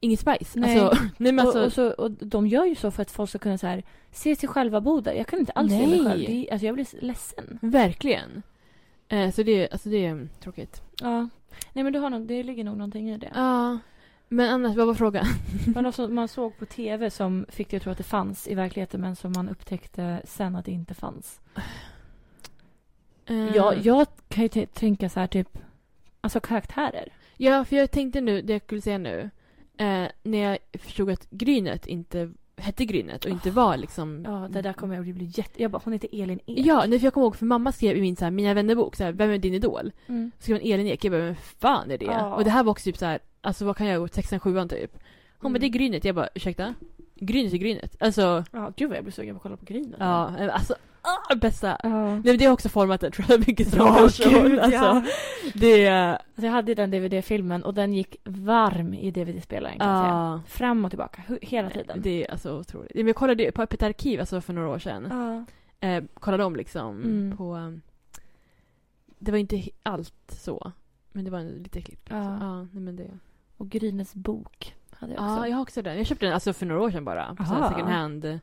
S2: inget spice.
S1: Nej.
S2: Alltså, nej men alltså,
S1: och, och, så, och de gör ju så för att folk ska kunna så här, se sig själva bo där. Jag kan inte alls se mig
S2: Nej.
S1: själv. Det, är- alltså jag blir ledsen.
S2: verkligen. Eh, så det, alltså det är tråkigt.
S1: Ja. Nej men du har nog, det ligger nog någonting i det.
S2: Ja. Men annars, vad var frågan?
S1: Men också, man såg på tv som fick det att tro att det fanns i verkligheten men som man upptäckte sen att det inte fanns.
S2: Eh,
S1: Jag, jag kan ju t- tänka så här typ, alltså karaktärer.
S2: ja, för jag tänkte nu, det jag skulle säga nu, eh, när jag förstod att Grynet inte hette Grynet och inte var liksom...
S1: Ah. Ja, det där kommer jag att bli jätte... Jag bara, hon heter Elin E. Ek.
S2: Ja, nej, för jag kommer ihåg för mamma skrev i min så här, Mina vännerbok, så här, vem är din idol?
S1: Mm.
S2: Så skrev hon Elin Ek. Jag bara, vem fan är det?
S1: Ja.
S2: Och det här var också typ så här, alltså vad kan jag gå? Sexan, sjuan typ. Hon bara,
S1: Mm.
S2: det är Grynet. Jag bara, ursäkta? Grynet är Grynet. Alltså,
S1: Ja, gud vad jag blir sugen på att kolla på Grynet.
S2: ja, alltså, ah, bästa.
S1: Ja.
S2: Nej men det har också format en tror jag mycket som
S1: Ja,
S2: person.
S1: gud,
S2: Alltså,
S1: ja.
S2: Det är,
S1: Alltså jag hade ju den DVD-filmen och den gick varm i DVD-spelaren kan jag säga.
S2: ja.
S1: Fram och tillbaka, hu- hela tiden.
S2: Det är alltså otroligt. Nej, Men jag kollade ju på Öppet arkiv alltså för några år sedan.
S1: Ja.
S2: Eh, kollade om liksom
S1: Mm.
S2: på, um, det var inte he- allt så. Men det var en- lite klipp.
S1: Ja.
S2: Liksom. Ja, nej, men det.
S1: Och Grynets bok hade jag också.
S2: Ja, jag har också den. Jag köpte den alltså för några år sedan bara. På sån här
S1: Aha.
S2: second hand. Men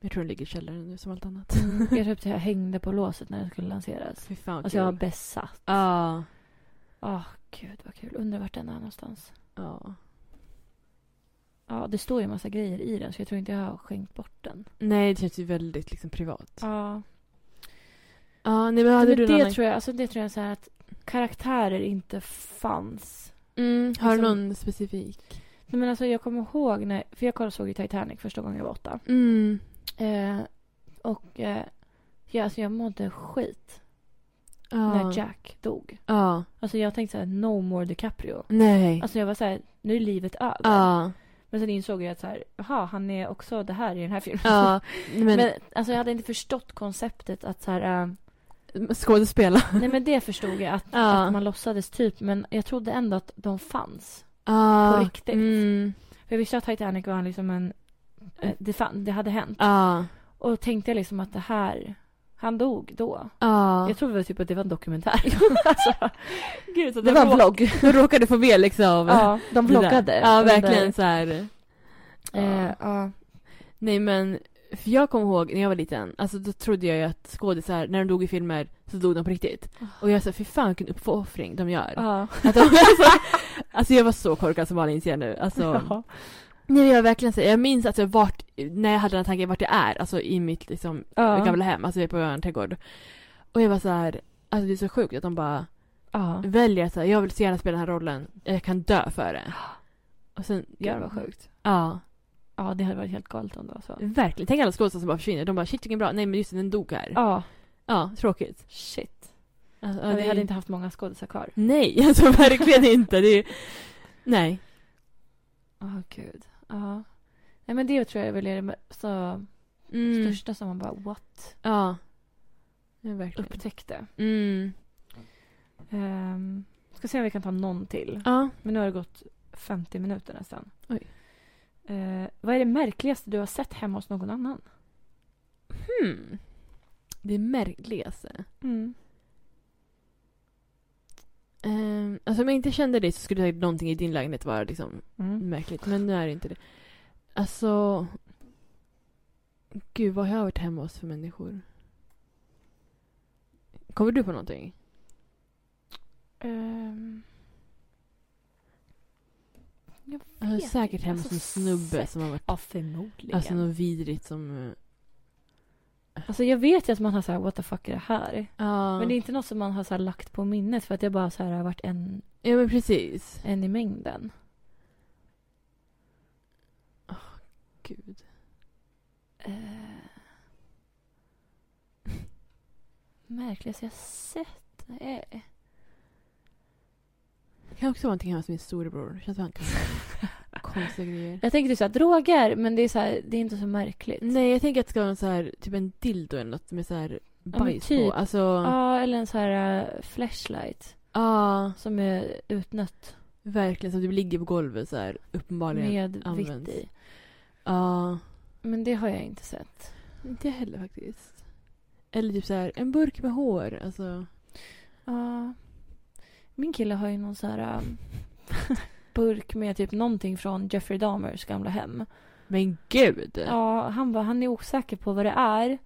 S2: Jag tror den ligger i källaren nu som allt annat.
S1: Jag köpte, jag hängde på låset när den skulle lanseras.
S2: Fy fan vad
S1: Alltså jag var
S2: kul.
S1: besatt.
S2: Ja.
S1: Åh, gud vad kul. Undrar vart den är någonstans.
S2: ja.
S1: Ja, det står ju en massa grejer i den så jag tror inte jag har skänkt bort den.
S2: Nej, det känns ju väldigt liksom privat. Ja,
S1: Ja.
S2: nej men hade
S1: Men
S2: du någon
S1: det,
S2: annan-
S1: tror jag, alltså det tror jag så här att karaktärer inte fanns.
S2: mm, Har du
S1: liksom-
S2: någon specifik?
S1: Nej, men alltså jag kommer ihåg när, för jag kollade såg ju Titanic första gången jag var åtta.
S2: Mm.
S1: Eh, och eh, ja, alltså jag mådde skit
S2: Ja.
S1: när Jack dog.
S2: Ja.
S1: Alltså jag tänkte så här, no more DiCaprio.
S2: Nej.
S1: Alltså jag var så här, nu är livet över.
S2: Ja.
S1: Men sen insåg jag att så här, jaha, han är också det här i den här filmen.
S2: Ja. nej,
S1: Men,
S2: Men,
S1: alltså jag hade inte förstått konceptet att så här, eh,
S2: skådespela.
S1: nej men det förstod jag att,
S2: Ja.
S1: att man låtsades typ, men jag trodde ändå att de fanns.
S2: Ja.
S1: På riktigt.
S2: Ah. Mm.
S1: För jag visste att Titanic var liksom en... eh, Det, fan, det hade hänt.
S2: Ja.
S1: Och tänkte jag liksom att det här... Han dog då.
S2: Ja.
S1: Jag trodde väl typ att det var en dokumentär. alltså,
S2: Gud, så
S1: det var en vlogg.
S2: Du råkade få med liksom.
S1: Ja, de
S2: det där.
S1: vloggade.
S2: Ja,
S1: under-
S2: verkligen så här.
S1: Eh, ja.
S2: Nej men, för jag kommer ihåg när jag var liten, alltså då trodde jag ju att skådisar, när de dog i filmer så dog de på riktigt.
S1: Ah.
S2: Och jag sa, fy fan vilken uppoffring de gör.
S1: Ja.
S2: Att de, alltså, alltså jag var så korkad som Malin ser nu. Alltså,
S1: Ja.
S2: Nej jag verkligen säger, jag minns alltså vart, när jag hade den här tanken vart jag är, alltså i mitt liksom
S1: Ja.
S2: gamla hem, alltså vi är på en trädgård. Och jag var så här, alltså det är så sjukt att de bara
S1: Ja.
S2: väljer så här, jag vill så gärna spela den här rollen, jag kan dö för det. Och sen,
S1: Gud vad sjukt. Mm.
S2: Ja,
S1: Ja, det hade varit helt galet om det var så.
S2: verkligen. Tänk alla skådespelare som bara försvinner, de bara shit vilken bra, nej men just det, den dog här. Ja,
S1: Ja.
S2: tråkigt.
S1: Shit.
S2: Alltså,
S1: Ja,
S2: ja,
S1: vi
S2: det-
S1: hade inte haft många skådisar kvar.
S2: Nej, alltså verkligen inte. Det är... Nej.
S1: Ja, gud. Ja. Nej, men det tror jag är väl är det med- så
S2: Mm.
S1: största som man bara what?
S2: Ja. Ja, verkligen.
S1: Upptäckte.
S2: Mm.
S1: Um, ska se om vi kan ta någon till.
S2: Ja.
S1: Men nu har det gått 50 minuter nästan.
S2: Oj.
S1: Eh, vad är det märkligaste du har sett hemma hos någon annan?
S2: Hmm. Det alltså. märkligaste. Um, alltså om jag inte kände det så skulle säkert någonting i din lägenhet vara liksom
S1: Mm.
S2: märkligt. Men nu är det inte det. Alltså. Gud vad har jag varit hemma hos för människor? Kommer du på någonting?
S1: Ehm, jag
S2: Jag är
S1: vet
S2: säkert
S1: inte.
S2: hemma hos
S1: Alltså,
S2: en snubbe
S1: säkert.
S2: som har varit...
S1: Ja, förmodligen.
S2: Alltså
S1: Alltså,
S2: något vidrigt som... eh,
S1: jag vet ju att man har så här, what the fuck är det här?
S2: Ja.
S1: Men det är inte något som man har så här, lagt på minnet för att det bara så här, har varit en,
S2: Ja men precis.
S1: en i mängden.
S2: Gud.
S1: Eh, märkligaste jag sett? Nej.
S2: Det kan också vara någonting hemma hos min storebror. Det känns som han kan ha konstiga grejer.
S1: Jag tänker typ så här, droger, men det är, så här, det är inte så märkligt.
S2: Nej jag tänker att det ska vara någon så här, typ en dildo eller något med så här
S1: men
S2: bajs
S1: typ.
S2: på. Alltså,
S1: Ja,
S2: ja.
S1: eller en så här eh, flashlight som är utnött
S2: verkligen. Som du ligger på golvet så här uppenbarligen. Ja.
S1: med vitt
S2: används.
S1: i. Men det har jag inte sett.
S2: inte jag heller faktiskt. Eller typ så här en burk med hår. Alltså.
S1: Ja. min kille har ju någon så här eh, burk med typ någonting från Jeffrey Dahmers gamla hem.
S2: Men gud!
S1: Ja, han bara, han är osäker på vad det är.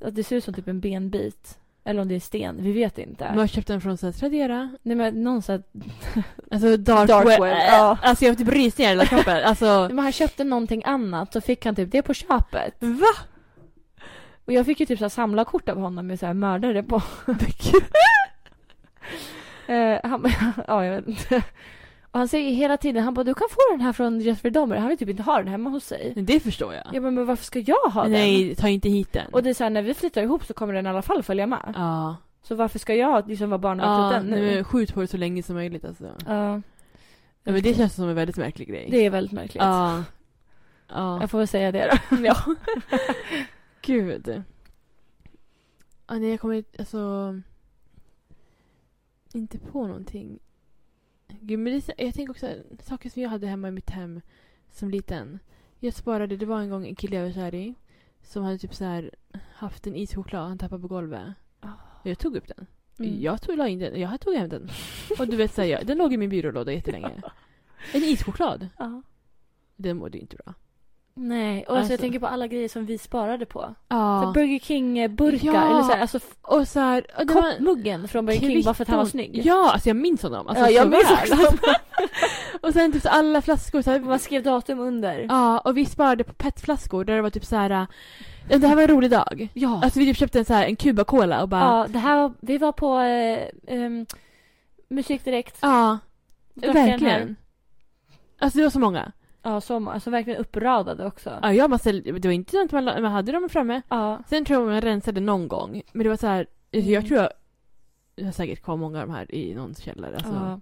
S1: Att det ser ut som typ en benbit. Eller om det är sten, vi vet inte.
S2: Man har köpt den från så här, Tradera.
S1: Nej men någon så här,
S2: Alltså dark,
S1: Dark
S2: web.
S1: web, ja.
S2: Alltså jag har typ rysningar i hela kroppen. Alltså.
S1: Nej, men han köpte någonting annat så fick han typ det på köpet.
S2: Va?
S1: Och jag fick ju typ så här samlarkort av honom med så här mördare på. Eh, han, ja, jag vet inte. Och han säger hela tiden, han bara du kan få den här från Jeffrey Dahmer. Han vill typ inte ha den hemma hos sig.
S2: Det förstår jag.
S1: Jag bara, men varför ska jag ha den?
S2: Nej, ta inte hit den.
S1: Och det är så här, när vi flyttar ihop så kommer den i alla fall följa med.
S2: Ja.
S1: Så varför ska jag liksom vara barnvakt åt
S2: Ja,
S1: den nu?
S2: nej, men skjut på det så länge som möjligt alltså. Ja,
S1: Ja,
S2: men det känns som en väldigt märklig grej.
S1: det är väldigt märkligt.
S2: Ja. Ja.
S1: Jag får väl säga det då. ja.
S2: Gud. Ja, nej, jag kommer alltså... Inte på någonting. Gud, men det, är så- jag tänker också saker som jag hade hemma i mitt hem som liten. Jag sparade, det var en gång en kille jag var kär i som hade typ så här haft en ischoklad han tappade på golvet.
S1: Ah.
S2: Och jag tog upp den.
S1: Mm.
S2: Jag tog, la in den, jag tog hem den. Och du vet, så här, jag, den låg i min byrålåda jättelänge. En ischoklad.
S1: Ja.
S2: Den mådde ju inte bra.
S1: Nej, och alltså,
S2: Alltså.
S1: jag tänker på alla grejer som vi sparade på. Så här
S2: Ja.
S1: Burger King-burkar,
S2: Ja.
S1: eller så här, alltså f-
S2: Och så här, och det var-
S1: koppmuggen från Burger King bara för att han var
S2: kvitton.
S1: snygg.
S2: Ja, alltså jag minns honom. Alltså,
S1: Ja, jag
S2: så
S1: minns
S2: väl.
S1: också.
S2: och sen typ så alla flaskor så här,
S1: Man skrev datum under.
S2: Ja, och vi sparade på petflaskor där det var typ så här. äh, Det här var en rolig dag.
S1: Ja.
S2: Alltså vi typ köpte en så här en Cuba Cola och bara. Ja.
S1: ja, det här var, vi var på eh, ehm, Musik Direkt. Drack den här.
S2: verkligen. Alltså det var så många.
S1: Ja, som, alltså verkligen uppradade också.
S2: Ja, jag bara ställde, det var inte sånt man, la- man hade dem framme.
S1: Ja.
S2: Sen tror jag man rensade någon gång. Men det var så här. alltså, Jag
S1: Mm.
S2: tror jag. Jag har säkert kvar många av de här i någons källare. Alltså.
S1: ja.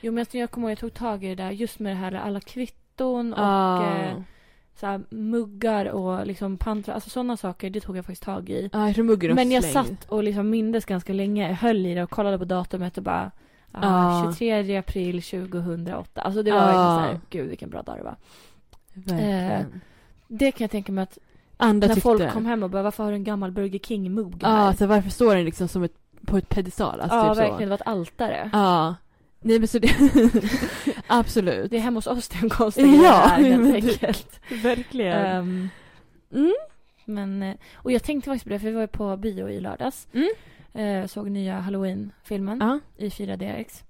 S1: Jo, men jag- jag kommer ihåg jag tog tag i det där just med det här alla kvitton och
S2: Ja.
S1: eh, så här, muggar och liksom pantra. Alltså sådana saker, det tog jag faktiskt tag i.
S2: Ja, jag tror muggen har
S1: Men jag
S2: slängt.
S1: satt och liksom mindes ganska länge, höll i det och kollade på datumet och bara ah,
S2: Ja.
S1: 23 april 2008. Alltså det var
S2: Ja.
S1: verkligen så här, gud vilken bra dag det var.
S2: Verkligen.
S1: Det kan jag tänka mig att
S2: Andra
S1: eh, när
S2: tyckte.
S1: folk kom hem och bara varför har du en gammal Burger King-mugg
S2: Ja,
S1: här?
S2: alltså varför står den liksom som ett, på ett pedestal? Alltså,
S1: ja,
S2: typ
S1: verkligen.
S2: Så.
S1: Det var ett altare.
S2: Ja. Nej men så det... Absolut.
S1: Det är hemma hos oss det är en konstig
S2: Ja,
S1: ja, grej helt
S2: men det-
S1: enkelt.
S2: Verkligen.
S1: Ehm,
S2: Mm.
S1: men, eh, och jag tänkte faktiskt på det, för vi var ju på bio i lördags.
S2: Mm.
S1: Eh, såg nya Halloween-filmen
S2: Ja.
S1: i 4DX.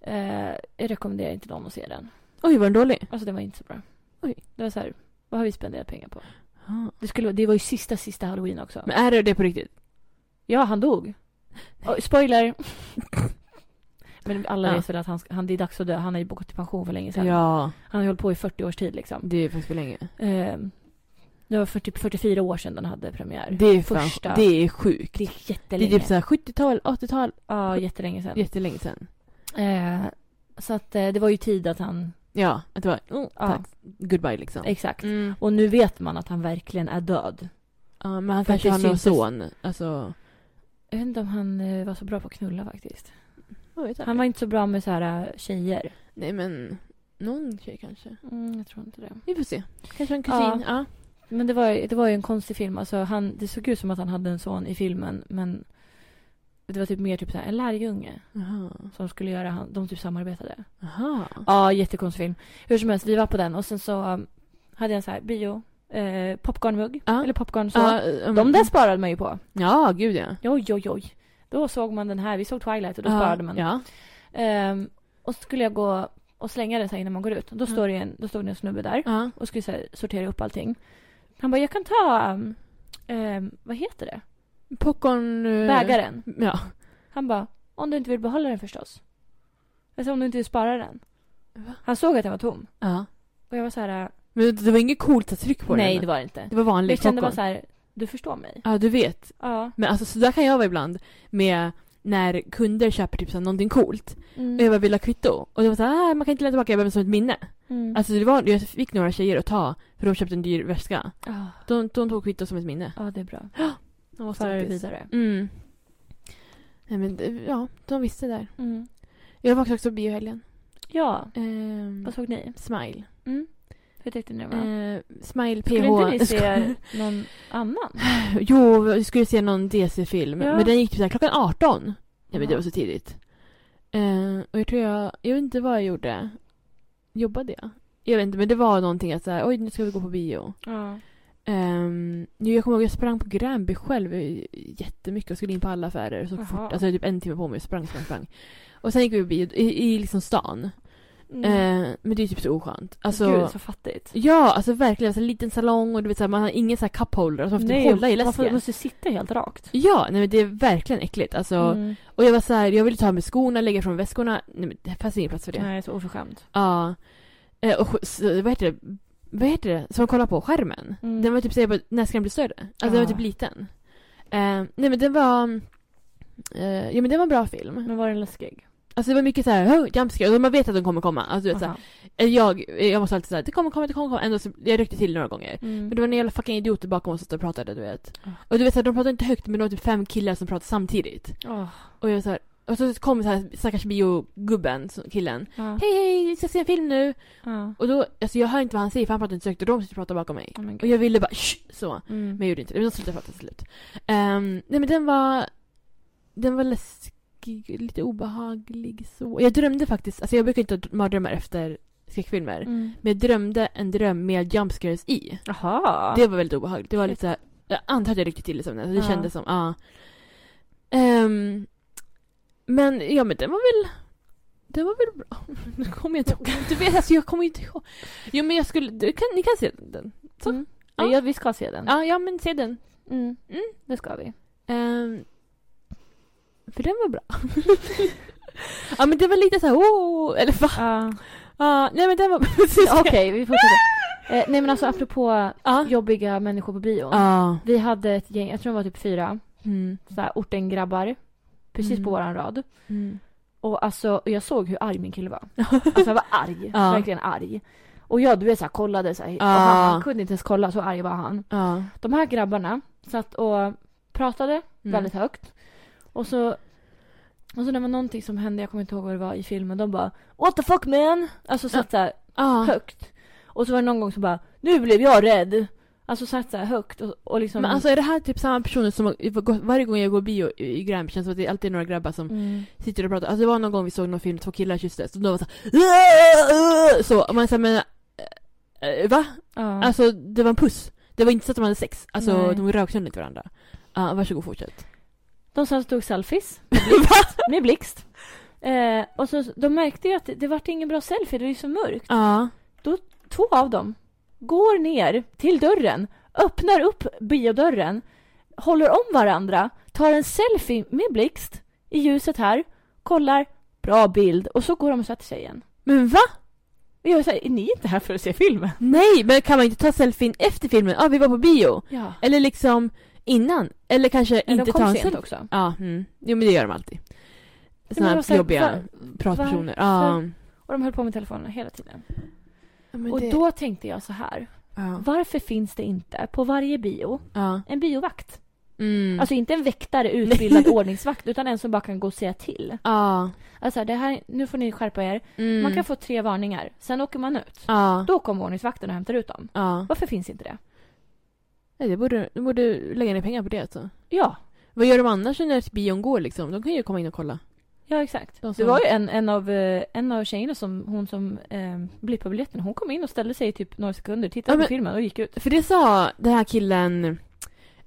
S1: Eh, jag rekommenderar inte någon att se den.
S2: Oj, var den dålig?
S1: Alltså den var inte så bra.
S2: Oj.
S1: Det var så här, vad har vi spenderat pengar på?
S2: Ja.
S1: Det, skulle, vara- det var ju sista, sista halloween också.
S2: Men är det det på riktigt?
S1: Ja, han dog. Oj, spoiler! Men alla
S2: Ja.
S1: vet väl att han, ska- han, det är dags att dö. Han har ju gått i pension för länge sedan.
S2: Ja.
S1: Han har ju hållit på i 40 års tid liksom.
S2: Det är faktiskt för länge.
S1: Ehm, det var 40, 44 år sedan den hade premiär.
S2: Det är fan,
S1: Första.
S2: Det är sjukt.
S1: Det
S2: Det,
S1: är jättelänge.
S2: är typ såhär 70-tal, 80-tal.
S1: Ja, jättelänge sedan.
S2: Jättelänge sedan.
S1: Eh, så att eh, det var ju tid att han...
S2: Ja, att det var oh,
S1: Ja.
S2: tack. Goodbye liksom.
S1: Exakt.
S2: Mm.
S1: Och nu vet man att han verkligen är död.
S2: Ja, men han
S1: För
S2: kanske
S1: att
S2: har
S1: det
S2: någon
S1: syntes-
S2: son. Alltså...
S1: Jag vet inte om han eh, var så bra på att knulla faktiskt.
S2: vad vet jag?
S1: Han var inte så bra med så här eh, tjejer.
S2: Nej men, någon tjej kanske.
S1: Mm, jag tror inte det.
S2: Vi får se. Kanske en kusin. Ja.
S1: Men det var, ju- det var ju en konstig film. Alltså han, det såg ut som att han hade en son i filmen, men det var typ mer typ så här, en lärjunge
S2: Jaha.
S1: som skulle göra han, de typ samarbetade.
S2: Jaha.
S1: Ja, jättekonstig film. Hur som helst, vi var på den och sen så um, hade jag en så här bio eh, popcornmugg.
S2: Ja.
S1: Eller popcorn så.
S2: Ja, mm.
S1: De där sparade man ju på.
S2: Ja, gud ja.
S1: Oj, oj, oj. Då såg man den här. Vi såg Twilight och då
S2: ja,
S1: sparade man.
S2: Ja.
S1: Ehm, och så skulle jag gå och slänga det så här innan man går ut. Då,
S2: Mm.
S1: står det en, då stod det en snubbe där
S2: ja.
S1: och skulle så här, sortera upp allting. Han bara, jag kan ta, um, ehm, vad heter det?
S2: Popcorn... eh,
S1: Bägaren.
S2: Ja.
S1: Han bara, om du inte vill behålla den förstås. Alltså om du inte vill spara den.
S2: Va?
S1: Han såg att den var tom.
S2: ja.
S1: Och jag var så här,
S2: Men det var inget coolt att tryck på
S1: nej
S2: den.
S1: det var det inte.
S2: det var vanlig
S1: Jag kände bara
S2: popcorn.
S1: så här, du förstår mig.
S2: Ja, du vet.
S1: Ja.
S2: Men alltså så där kan jag vara ibland med när kunder köper typ så här, någonting coolt.
S1: Mm.
S2: Och jag bara vill ha kvitto. Och de var såhär, ah, man kan inte lämna tillbaka, jag behöver som ett minne.
S1: Mm.
S2: Alltså det var, jag fick några tjejer att ta, för de köpte en dyr väska.
S1: ja.
S2: De, de tog kvitto som ett minne.
S1: ja, det är bra.
S2: De var
S1: Föra det
S2: stoltis.
S1: vidare.
S2: Mm. Nej men det- ja, de visste där.
S1: Mm.
S2: Jag var också på biohelgen.
S1: Ja,
S2: Ehm,
S1: vad såg ni?
S2: smile.
S1: Mm. Hur tyckte ni det var?
S2: Ehm, smile PH.
S1: Skulle inte ni se
S2: Skojar.
S1: någon annan?
S2: Jo, vi skulle se någon DC-film.
S1: Ja.
S2: Men den gick typ så här klockan 18. Nej men det
S1: Ja.
S2: var så tidigt. Eh, och jag tror jag, jag vet inte vad jag gjorde. Jobbade jag? Jag vet inte, men det var någonting att såhär, oj nu ska vi gå på bio.
S1: Ja.
S2: Um, jag kommer ihåg jag sprang på Gränby själv i- jättemycket och skulle in på alla affärer så
S1: Jaha.
S2: fort. Alltså jag hade typ en timme på mig och sprang, sprang, sprang. Och sen gick vi på bio i, i liksom stan. Eh, men det är typ så oskönt. Alltså,
S1: Mm. Gud, så fattigt.
S2: Ja, alltså verkligen. Alltså, en liten salong och du vet såhär, man har ingen såhär cupholder. Alltså, man får typ hålla i
S1: man
S2: läsken.
S1: får- måste sitta helt rakt.
S2: Ja, nej men det är verkligen äckligt. Alltså,
S1: Mm.
S2: Och jag var så här, jag ville ta med skorna, lägga från väskorna. Nej men det fanns ingen plats för det.
S1: Nej, så oförskämt.
S2: Ja. Eh, och sk- så, vad heter det? Vad heter det? Som man kollar på? Skärmen?
S1: Mm.
S2: Den var typ såhär, när ska den bli större? Alltså den
S1: Ja.
S2: var typ liten. Eh, nej men den var... Eh, ja men det var en bra film.
S1: Men var den läskig?
S2: Alltså det var mycket såhär, oh, jumpscare. Och man vet att de kommer komma. Alltså du vet, såhär,
S1: Aha.
S2: eh, jag, jag måste alltid säga det kommer komma, det kommer komma. Ändå så, jag ryckte till några gånger.
S1: Mm.
S2: Men det var en jävla fucking idioter bakom oss som stod och pratade, du vet.
S1: Ja.
S2: Och du vet såhär, de pratade inte högt men det var typ fem killar som pratade samtidigt.
S1: Åh,
S2: Och jag så här, och så kom så här stackars biogubben, så- killen.
S1: ja.
S2: Hej hej, vi ska se en film nu.
S1: Ja.
S2: Och då, alltså jag hör inte vad han säger för han pratar inte så högt och de sitter och pratar bakom mig.
S1: Oh, men
S2: Och
S1: gud.
S2: jag ville bara Shh! så.
S1: Mm.
S2: Men jag gjorde inte det, men de slutade prata till slut. Ehm, nej men den var, den var läskig, lite obehaglig så. Jag drömde faktiskt, alltså jag brukar inte ha dr- mardrömmar efter skräckfilmer.
S1: Mm.
S2: Men jag drömde en dröm med jumpscares i.
S1: Jaha.
S2: Det var väldigt obehagligt. Det var
S1: Shit.
S2: lite såhär, jag antar att jag ryckte till i sömnen. Det
S1: Ja.
S2: kändes som, ja. Ehm, men ja men den var väl, den var väl bra. Nu kommer jag inte ihåg. Du vet alltså jag kommer inte ihåg. Jo men jag skulle, du kan, ni kan se den. så.
S1: Mm.
S2: Ja.
S1: Ja, vi ska se den.
S2: Ja, ja men se den.
S1: Mm.
S2: Mm.
S1: Det ska vi.
S2: Ehm, för den var bra. ja men det var lite såhär, åh, eller va?
S1: Ja.
S2: Ja, nej men den var precis
S1: Okej, vi fortsätter. Eh, nej men alltså apropå
S2: Ja.
S1: jobbiga människor på bio.
S2: Ja.
S1: Vi hade ett gäng, jag tror de var typ fyra,
S2: Mm.
S1: så här ortengrabbar. Precis
S2: Mm.
S1: på våran rad.
S2: Mm.
S1: Och alltså, och jag såg hur arg min kille var. Alltså han var arg,
S2: Ja.
S1: verkligen arg. Och jag du vet såhär kollade såhär, och
S2: Ja.
S1: han, han kunde inte ens kolla, så arg var han.
S2: Ja. Mm.
S1: De här grabbarna satt och pratade väldigt högt. Och så, och så det var någonting som hände, jag kommer inte ihåg vad det var i filmen, de bara What the fuck man! Alltså satt såhär
S2: Ja.
S1: högt. Och så var det någon gång som bara Nu blev jag rädd! Alltså satt såhär högt och, och liksom
S2: Men alltså är det här typ samma personer som har- varje gång jag går bio i i Gränby känns det som att det är alltid några grabbar som
S1: mm.
S2: sitter och pratar. Alltså det var någon gång vi såg någon film, två killar kysstes och de var såhär Så, och man såhär men... eh, eh, Va?
S1: ja.
S2: Alltså det var en puss. Det var inte så att de hade sex. Alltså
S1: Nej.
S2: de rökte inte varandra. Uh, varsågod fortsätt.
S1: De satt och tog selfies med blixt. Eh, och så, de märkte ju att det, det vart ingen bra selfie, det var ju så mörkt.
S2: Ja.
S1: Två av dem går ner till dörren, öppnar upp biodörren, håller om varandra, tar en selfie med blixt i ljuset här, kollar, bra bild och så går de och sätter sig igen.
S2: Men va?
S1: Och jag säger, är ni inte här för att se filmen?
S2: Nej, men kan man inte ta selfien efter filmen? Ja, vi var på bio.
S1: Ja.
S2: Eller liksom innan. Eller kanske
S1: Eller
S2: inte
S1: de
S2: ta
S1: kom
S2: en
S1: sent
S2: selfie.
S1: också.
S2: Ja, mm. jo men det gör de alltid. Såna
S1: men
S2: här
S1: vad säger-
S2: jobbiga
S1: var-
S2: pratpersoner. Ja.
S1: Och de höll på med telefonerna hela tiden.
S2: Men
S1: och
S2: det-
S1: då tänkte jag så här,
S2: Ja.
S1: varför finns det inte på varje bio
S2: ja.
S1: en biovakt?
S2: Mm.
S1: Alltså inte en väktare, utbildad ordningsvakt, utan en som bara kan gå och säga till.
S2: ja.
S1: Alltså det här, nu får ni skärpa er.
S2: Mm.
S1: Man kan få tre varningar, sen åker man ut.
S2: Ja.
S1: Då kommer ordningsvakten och hämtar ut dem.
S2: ja.
S1: Varför finns inte det?
S2: Nej, det borde, du borde lägga ner pengar på det alltså.
S1: Ja,
S2: Vad gör de annars när bion går liksom? De kan ju komma in och kolla.
S1: Ja exakt.
S2: De
S1: Det
S2: som-
S1: var ju en, en, av, eh, en av tjejerna som, hon som eh, blippade biljetten, hon kom in och ställde sig i typ några sekunder, tittade
S2: Ja, men-
S1: på filmen och gick ut.
S2: För det sa den här killen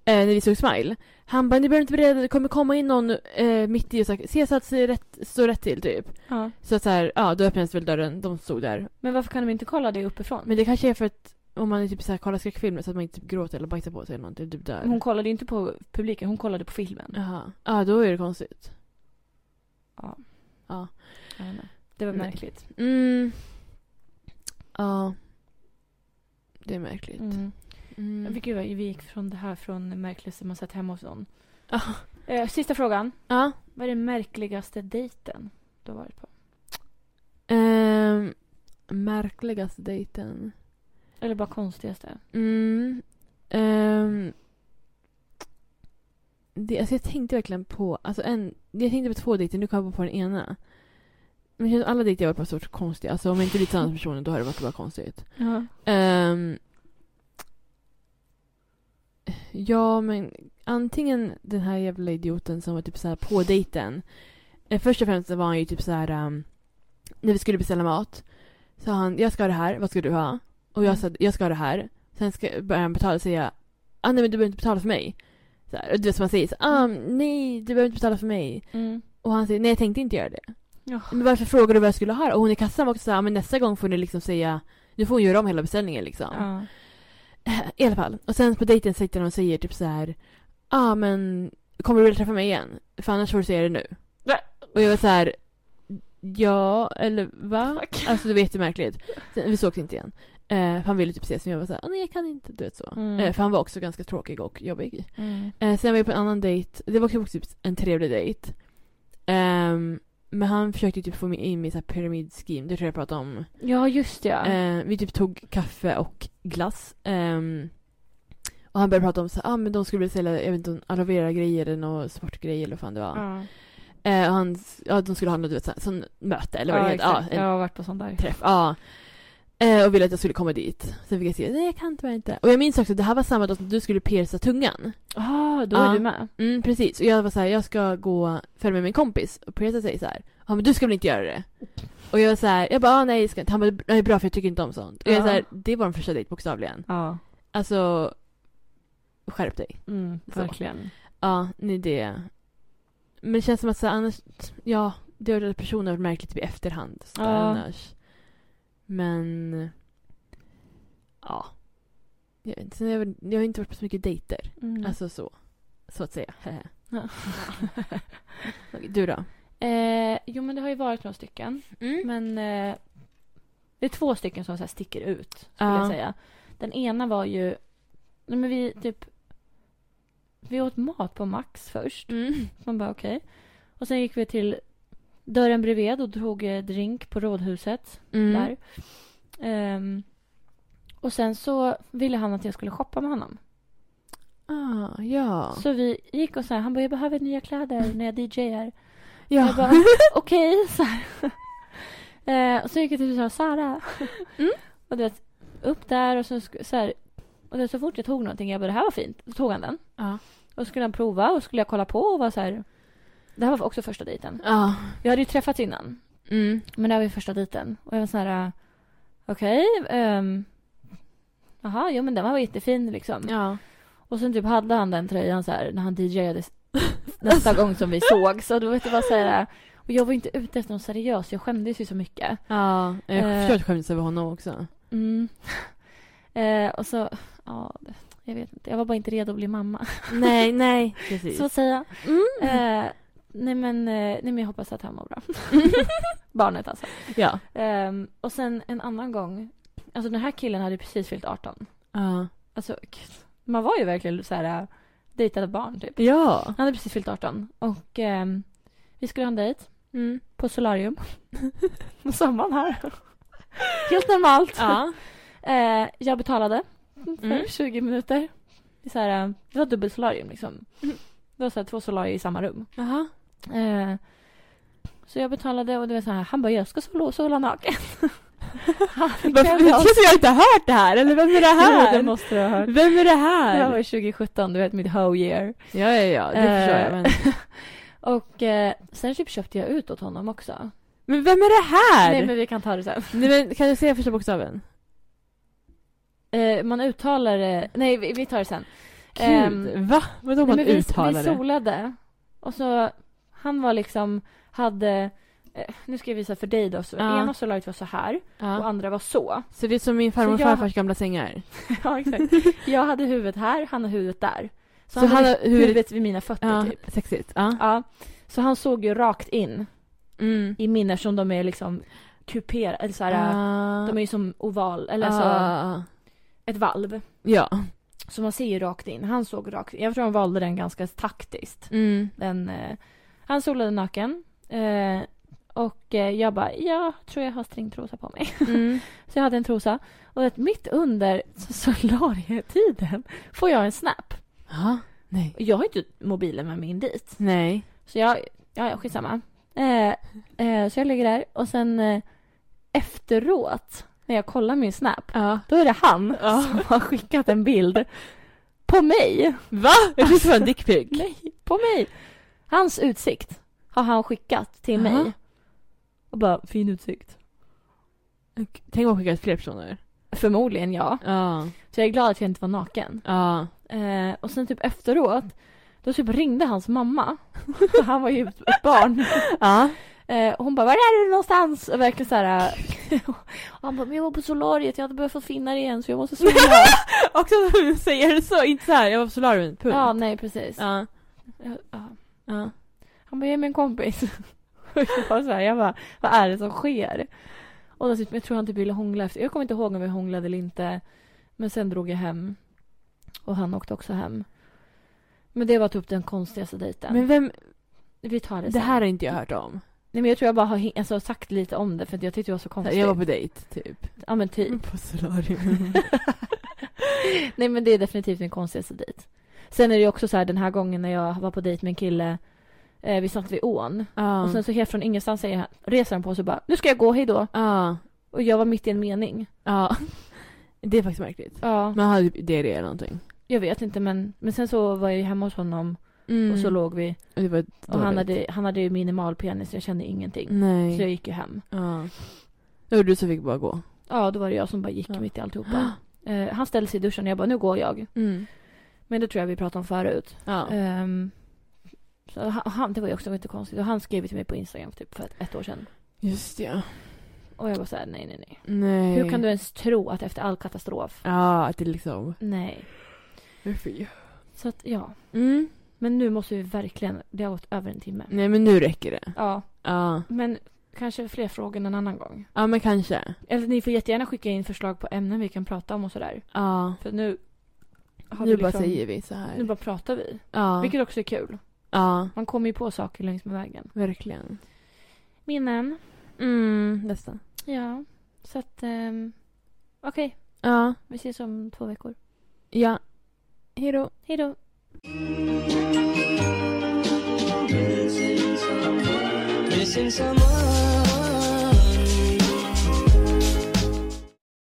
S2: eh, när vi såg Smile. Han bara, ni behöver inte bereda det kommer komma in någon eh, mitt i och säga, se så att det är rätt, står rätt till typ.
S1: Ja.
S2: Så att så här, ja då öppnades väl dörren, de stod där.
S1: Men varför kan de inte kolla det uppifrån?
S2: Men det kanske är för att om man är typ så här, kollar skräckfilmer så att man inte typ gråter eller bajsar på sig eller någonting, typ där.
S1: hon kollade ju inte på publiken, hon kollade på filmen.
S2: Jaha. Ja, då är det konstigt.
S1: Ja.
S2: Ja.
S1: Jag vet inte. Det var
S2: Nej.
S1: märkligt.
S2: Mm. Ja. Det är märkligt. Mm.
S1: Men Gud, vad vi gick från det här från märkligaste man sett hemma hos någon.
S2: Ja.
S1: Eh, sista frågan.
S2: Ja.
S1: Vad är den märkligaste dejten du har varit på?
S2: Ehm, märkligaste dejten.
S1: Eller bara konstigaste?
S2: Mm. Ehm, det, alltså jag tänkte verkligen på... Alltså en, jag tänkte på två dejter, nu kommer jag bara på den ena. Men det känns som alla dejter jag varit på har varit så konstiga. Alltså om jag inte blivit tillsammans med personen då har det varit bara konstigt.
S1: Ja.
S2: Ehm, ja, men antingen den här jävla idioten som var typ så här på dejten. Eh, Först och främst så var han ju typ så här ehm, när vi skulle beställa mat. Sa han, jag ska ha det här, vad ska du ha? Och jag sa, jag ska ha det här. Sen ska, började han betala och säga, ah, nej men du behöver inte betala för mig. Så här, och du vet som man säger, så, ah, nej du behöver inte betala för mig.
S1: Mm.
S2: Och han säger, nej jag tänkte inte göra det.
S1: Ja.
S2: Men varför frågar du vad jag skulle ha? Och hon i kassan var också så här, men nästa gång får ni liksom säga, nu får hon göra om hela beställningen liksom.
S1: Ja.
S2: I alla fall. Och sen på dejten sitter hon och säger typ så här. Ja ah, men kommer du vilja träffa mig igen? För annars får du säga det nu.
S1: Nej.
S2: Och jag var så här. Ja, eller va?
S1: Fuck.
S2: Alltså det var jättemärkligt. Sen, vi sågs inte igen. Eh, för han ville typ ses men jag var så här, ah, nej jag kan inte. Du vet så.
S1: Mm.
S2: Eh, för han var också ganska tråkig och jobbig.
S1: Mm.
S2: Eh, sen var jag på en annan dejt. Det var också typ en trevlig dejt. Ehm, men han försökte ju typ få mig in i så här pyramid scheme. Det tror jag jag pratade om.
S1: ja, just det. ja.
S2: Eh, vi typ tog kaffe och glass. Ehm, och han började prata om så här, ah, men de skulle vilja sälja jag vet inte, aloe vera grejer eller någon sportgrej eller vad fan det var.
S1: ja.
S2: Eh, och han, ja, de skulle ha något du vet, så här, sån möte eller vad det heter.
S1: exakt.
S2: Ja, en
S1: Jag har varit på sån där.
S2: träff. Ja. Eh, och ville att jag skulle komma dit. Sen fick jag säga nej jag kan tyvärr inte. Och jag minns också att det här var samma dag som du skulle pierca tungan.
S1: Ah, då
S2: Ja.
S1: är du med.
S2: Mm, precis. Och jag var så här, jag ska gå följa med min kompis och pierca sig så här. Ja, men du ska väl inte göra det? Och jag var så här, jag bara, ah, nej, jag ska inte. Han bara, nej, bra för jag tycker inte om sånt. Och jag var så här, det var den första dejt bokstavligen.
S1: Ja.
S2: Alltså, skärp dig.
S1: Mm,
S2: Så.
S1: verkligen.
S2: Ja, nej det. Men det känns som att så här, annars, ja, det har varit personer varit märkligt typ i efterhand. Så där,
S1: Ja.
S2: annars. Men, ja. Jag, vet inte. Sen har jag, väl- jag har inte varit på så mycket dejter.
S1: Mm.
S2: Alltså så. Så att säga.
S1: Ja.
S2: Okej, du då?
S1: Eh, jo, men det har ju varit några stycken.
S2: Mm.
S1: Men eh, det är två stycken som så här sticker ut, skulle
S2: Ja.
S1: jag säga. Den ena var ju... Nej, men vi typ... Vi åt mat på Max först.
S2: Mm.
S1: Man bara okej. Och sen gick vi till dörren bredvid och drog eh, drink på Rådhuset
S2: Mm.
S1: där. Ehm, och sen så ville han att jag skulle shoppa med honom.
S2: Ah, ja.
S1: Så vi gick och så här, han bara jag behöver nya kläder när jag DJar.
S2: Ja.
S1: Jag bara, okej. så här. Eh, och så gick jag till så Sara.
S2: Mm.
S1: Och du vet, upp där och så, sk- så här. Och då så fort jag tog någonting, jag bara det här var fint. Då tog han den.
S2: Ja.
S1: Och så skulle han prova och skulle jag kolla på och var så här. Det här var också första dejten.
S2: Ja.
S1: Vi hade ju träffats innan.
S2: Mm.
S1: Men det här var ju första dejten. Och jag var så här, eh, okej. ehm, Jaha, jo men den var jättefin liksom.
S2: Ja.
S1: Och sen typ hade han den tröjan så här när han DJade s- nästa gång som vi såg. Så då vet du vad säga. Och jag var inte ute efter något seriöst. Jag skämdes ju så mycket.
S2: Ja. Jag
S1: Eh.
S2: förstår att du skämdes över honom också.
S1: Mm. Eh, och så, ja, det- jag vet inte. Jag var bara inte redo att bli mamma.
S2: Nej, nej. Precis.
S1: Så att säga.
S2: Mm.
S1: Eh, nej, men, eh, nej men jag hoppas att han mår bra. Barnet alltså.
S2: Ja.
S1: Ehm, och sen en annan gång. Alltså den här killen hade precis fyllt 18.
S2: Ja.
S1: Alltså gud, man var ju verkligen så här äh, dejtade barn typ.
S2: Ja.
S1: Han hade precis fyllt 18 och ehm, vi skulle ha en dejt
S2: Mm.
S1: på solarium. På sommaren här. Helt normalt.
S2: Ja.
S1: Eh, jag betalade för
S2: Mm.
S1: 20 minuter. Det, är så här, eh, det var dubbelsolarium liksom.
S2: Mm.
S1: Det var så här, två solarier i samma rum.
S2: Jaha.
S1: Eh, så jag betalade och det var så här, han bara jag ska sola, sola naken. Han
S2: Varför
S1: klädde av sig.
S2: känns jag inte har hört det här? Eller vem är det
S1: Jo,
S2: här?
S1: det måste du ha hört.
S2: Vem är det
S1: Det här
S2: här?
S1: var 2017, du vet mitt hoe year.
S2: Ja, ja, ja. Det
S1: Eh.
S2: förstår jag. Men...
S1: Och eh, sen typ köpte jag ut åt honom också.
S2: Men vem är det här?
S1: Nej men vi kan ta det sen.
S2: Nej, men kan du säga första bokstaven?
S1: Eh, man uttalar det, nej vi, vi tar det sen. Ehm,
S2: Gud, va? Vadå man
S1: Nej, men vi,
S2: uttalar
S1: vi
S2: det?
S1: solade. Och så han var liksom, hade, eh, nu ska jag visa för dig då. Så
S2: Ja.
S1: Ena solariet var så här och
S2: Ja.
S1: andra var så.
S2: Så det är som min farmor och
S1: Så jag-
S2: farfars gamla sängar.
S1: ja exakt. Jag hade huvudet här, han har huvudet där. Så,
S2: Så
S1: han hade
S2: han har huvudet-
S1: huvudet, vid mina fötter
S2: Ja,
S1: typ.
S2: sexigt. Ja.
S1: Ja. Så han såg ju rakt in
S2: Mm.
S1: i min eftersom de är liksom kuperade, eller så här,
S2: Ah.
S1: de är ju som oval, eller så
S2: Ah.
S1: ett valv.
S2: Ja.
S1: Så man ser ju rakt in. Han såg rakt in. Jag tror han valde den ganska taktiskt.
S2: Mm.
S1: Den, eh, han solade naken. Eh, och eh, jag bara, jag tror jag har stringtrosa på mig.
S2: Mm.
S1: Så jag hade en trosa. Och att mitt under solarietiden får jag en snap.
S2: Ja. Nej.
S1: Och Jag har ju inte mobilen med mig in dit.
S2: Nej.
S1: Så jag, ja, ja, skitsamma. Eh, eh, så jag ligger där och sen eh, efteråt när jag kollar min snap,
S2: Ja.
S1: då är det han
S2: Ja.
S1: som har skickat en bild på mig.
S2: Va? Jag trodde det var en dickpic.
S1: Nej, på mig. Hans utsikt har han skickat till
S2: Jaha.
S1: mig. Och bara, fin utsikt.
S2: Tänk om hon skickat fler personer.
S1: Förmodligen ja.
S2: Ja.
S1: Så jag är glad att jag inte var naken.
S2: Ja.
S1: Eh, och sen typ efteråt, då typ ringde hans mamma. För han var ju ett barn.
S2: Ja.
S1: Eh, och hon bara, var är du någonstans? Och verkligen så här. eh, och han bara, men jag var på solariet, jag hade behövt få finnar igen så jag måste sola.
S2: Också att hon säger det så, inte så här. Jag var på solarium, punkt.
S1: ja, nej precis.
S2: Ja.
S1: Ja, ja.
S2: Ja.
S1: Han bara, jag är med en kompis. Och jag var så här, jag bara, vad är det som sker? Och då, typ, jag tror han typ ville hångla efter. Jag kommer inte ihåg om vi hånglade eller inte. Men sen drog jag hem. Och han åkte också hem. Men det var typ den konstigaste dejten.
S2: Men vem,
S1: vi tar det,
S2: det
S1: sen.
S2: här har inte jag hört om.
S1: Nej men jag tror jag bara har hin- alltså, sagt lite om det för att jag tyckte det var så konstigt.
S2: Jag var på dejt, typ.
S1: Ja men typ.
S2: På solarium.
S1: Nej men det är definitivt min konstigaste dejt. Sen är det ju också så här den här gången när jag var på dejt med en kille. Eh, vi satt vid ån.
S2: Ja.
S1: Och sen så helt från ingenstans säger han, reser han på sig och bara nu ska jag gå, hejdå.
S2: Ja.
S1: Och jag var mitt i en mening.
S2: Ja. Det är faktiskt märkligt.
S1: Ja,
S2: Man hade typ diarré eller någonting.
S1: jag vet inte men, men sen så var jag ju hemma hos honom
S2: Mm.
S1: och så låg vi
S2: Och det var ett
S1: och han
S2: dåligt.
S1: hade, han hade ju minimal penis jag kände ingenting. Så jag
S2: Nej.
S1: gick ju hem.
S2: Ja. Det var du som fick bara gå.
S1: Ja, då var det jag som bara gick
S2: Ja.
S1: mitt i alltihopa. Eh, han ställde sig i duschen och jag bara nu går jag.
S2: Mm.
S1: Men det tror jag vi pratade om förut.
S2: Ja.
S1: Ehm, så han, han, det var ju också inte konstigt och han skrev till mig på Instagram typ för ett, ett år sedan.
S2: Just ja.
S1: Och jag var såhär nej nej nej.
S2: Nej.
S1: Hur kan du ens tro att efter all katastrof?
S2: Ja, att det liksom...
S1: Nej.
S2: Fy.
S1: Så att ja.
S2: Mm.
S1: Men nu måste vi verkligen, det har gått över en timme.
S2: Nej men nu räcker det.
S1: Ja.
S2: Ja.
S1: Men kanske fler frågor en annan gång.
S2: Ja men kanske.
S1: Eller ni får jättegärna skicka in förslag på ämnen vi kan prata om och sådär.
S2: Ja.
S1: För nu har
S2: Nu
S1: vi
S2: bara
S1: liksom-
S2: säger vi så här.
S1: Nu bara pratar vi.
S2: ja.
S1: Vilket också är kul.
S2: ja,
S1: Man kommer ju på saker längs med vägen.
S2: verkligen.
S1: Minnen.
S2: Mm, nästan.
S1: Ja. Så att... ehm, Okej.
S2: Ja.
S1: Vi ses om två veckor.
S2: Ja. Hej då.
S1: Hej då.
S3: Missing someone.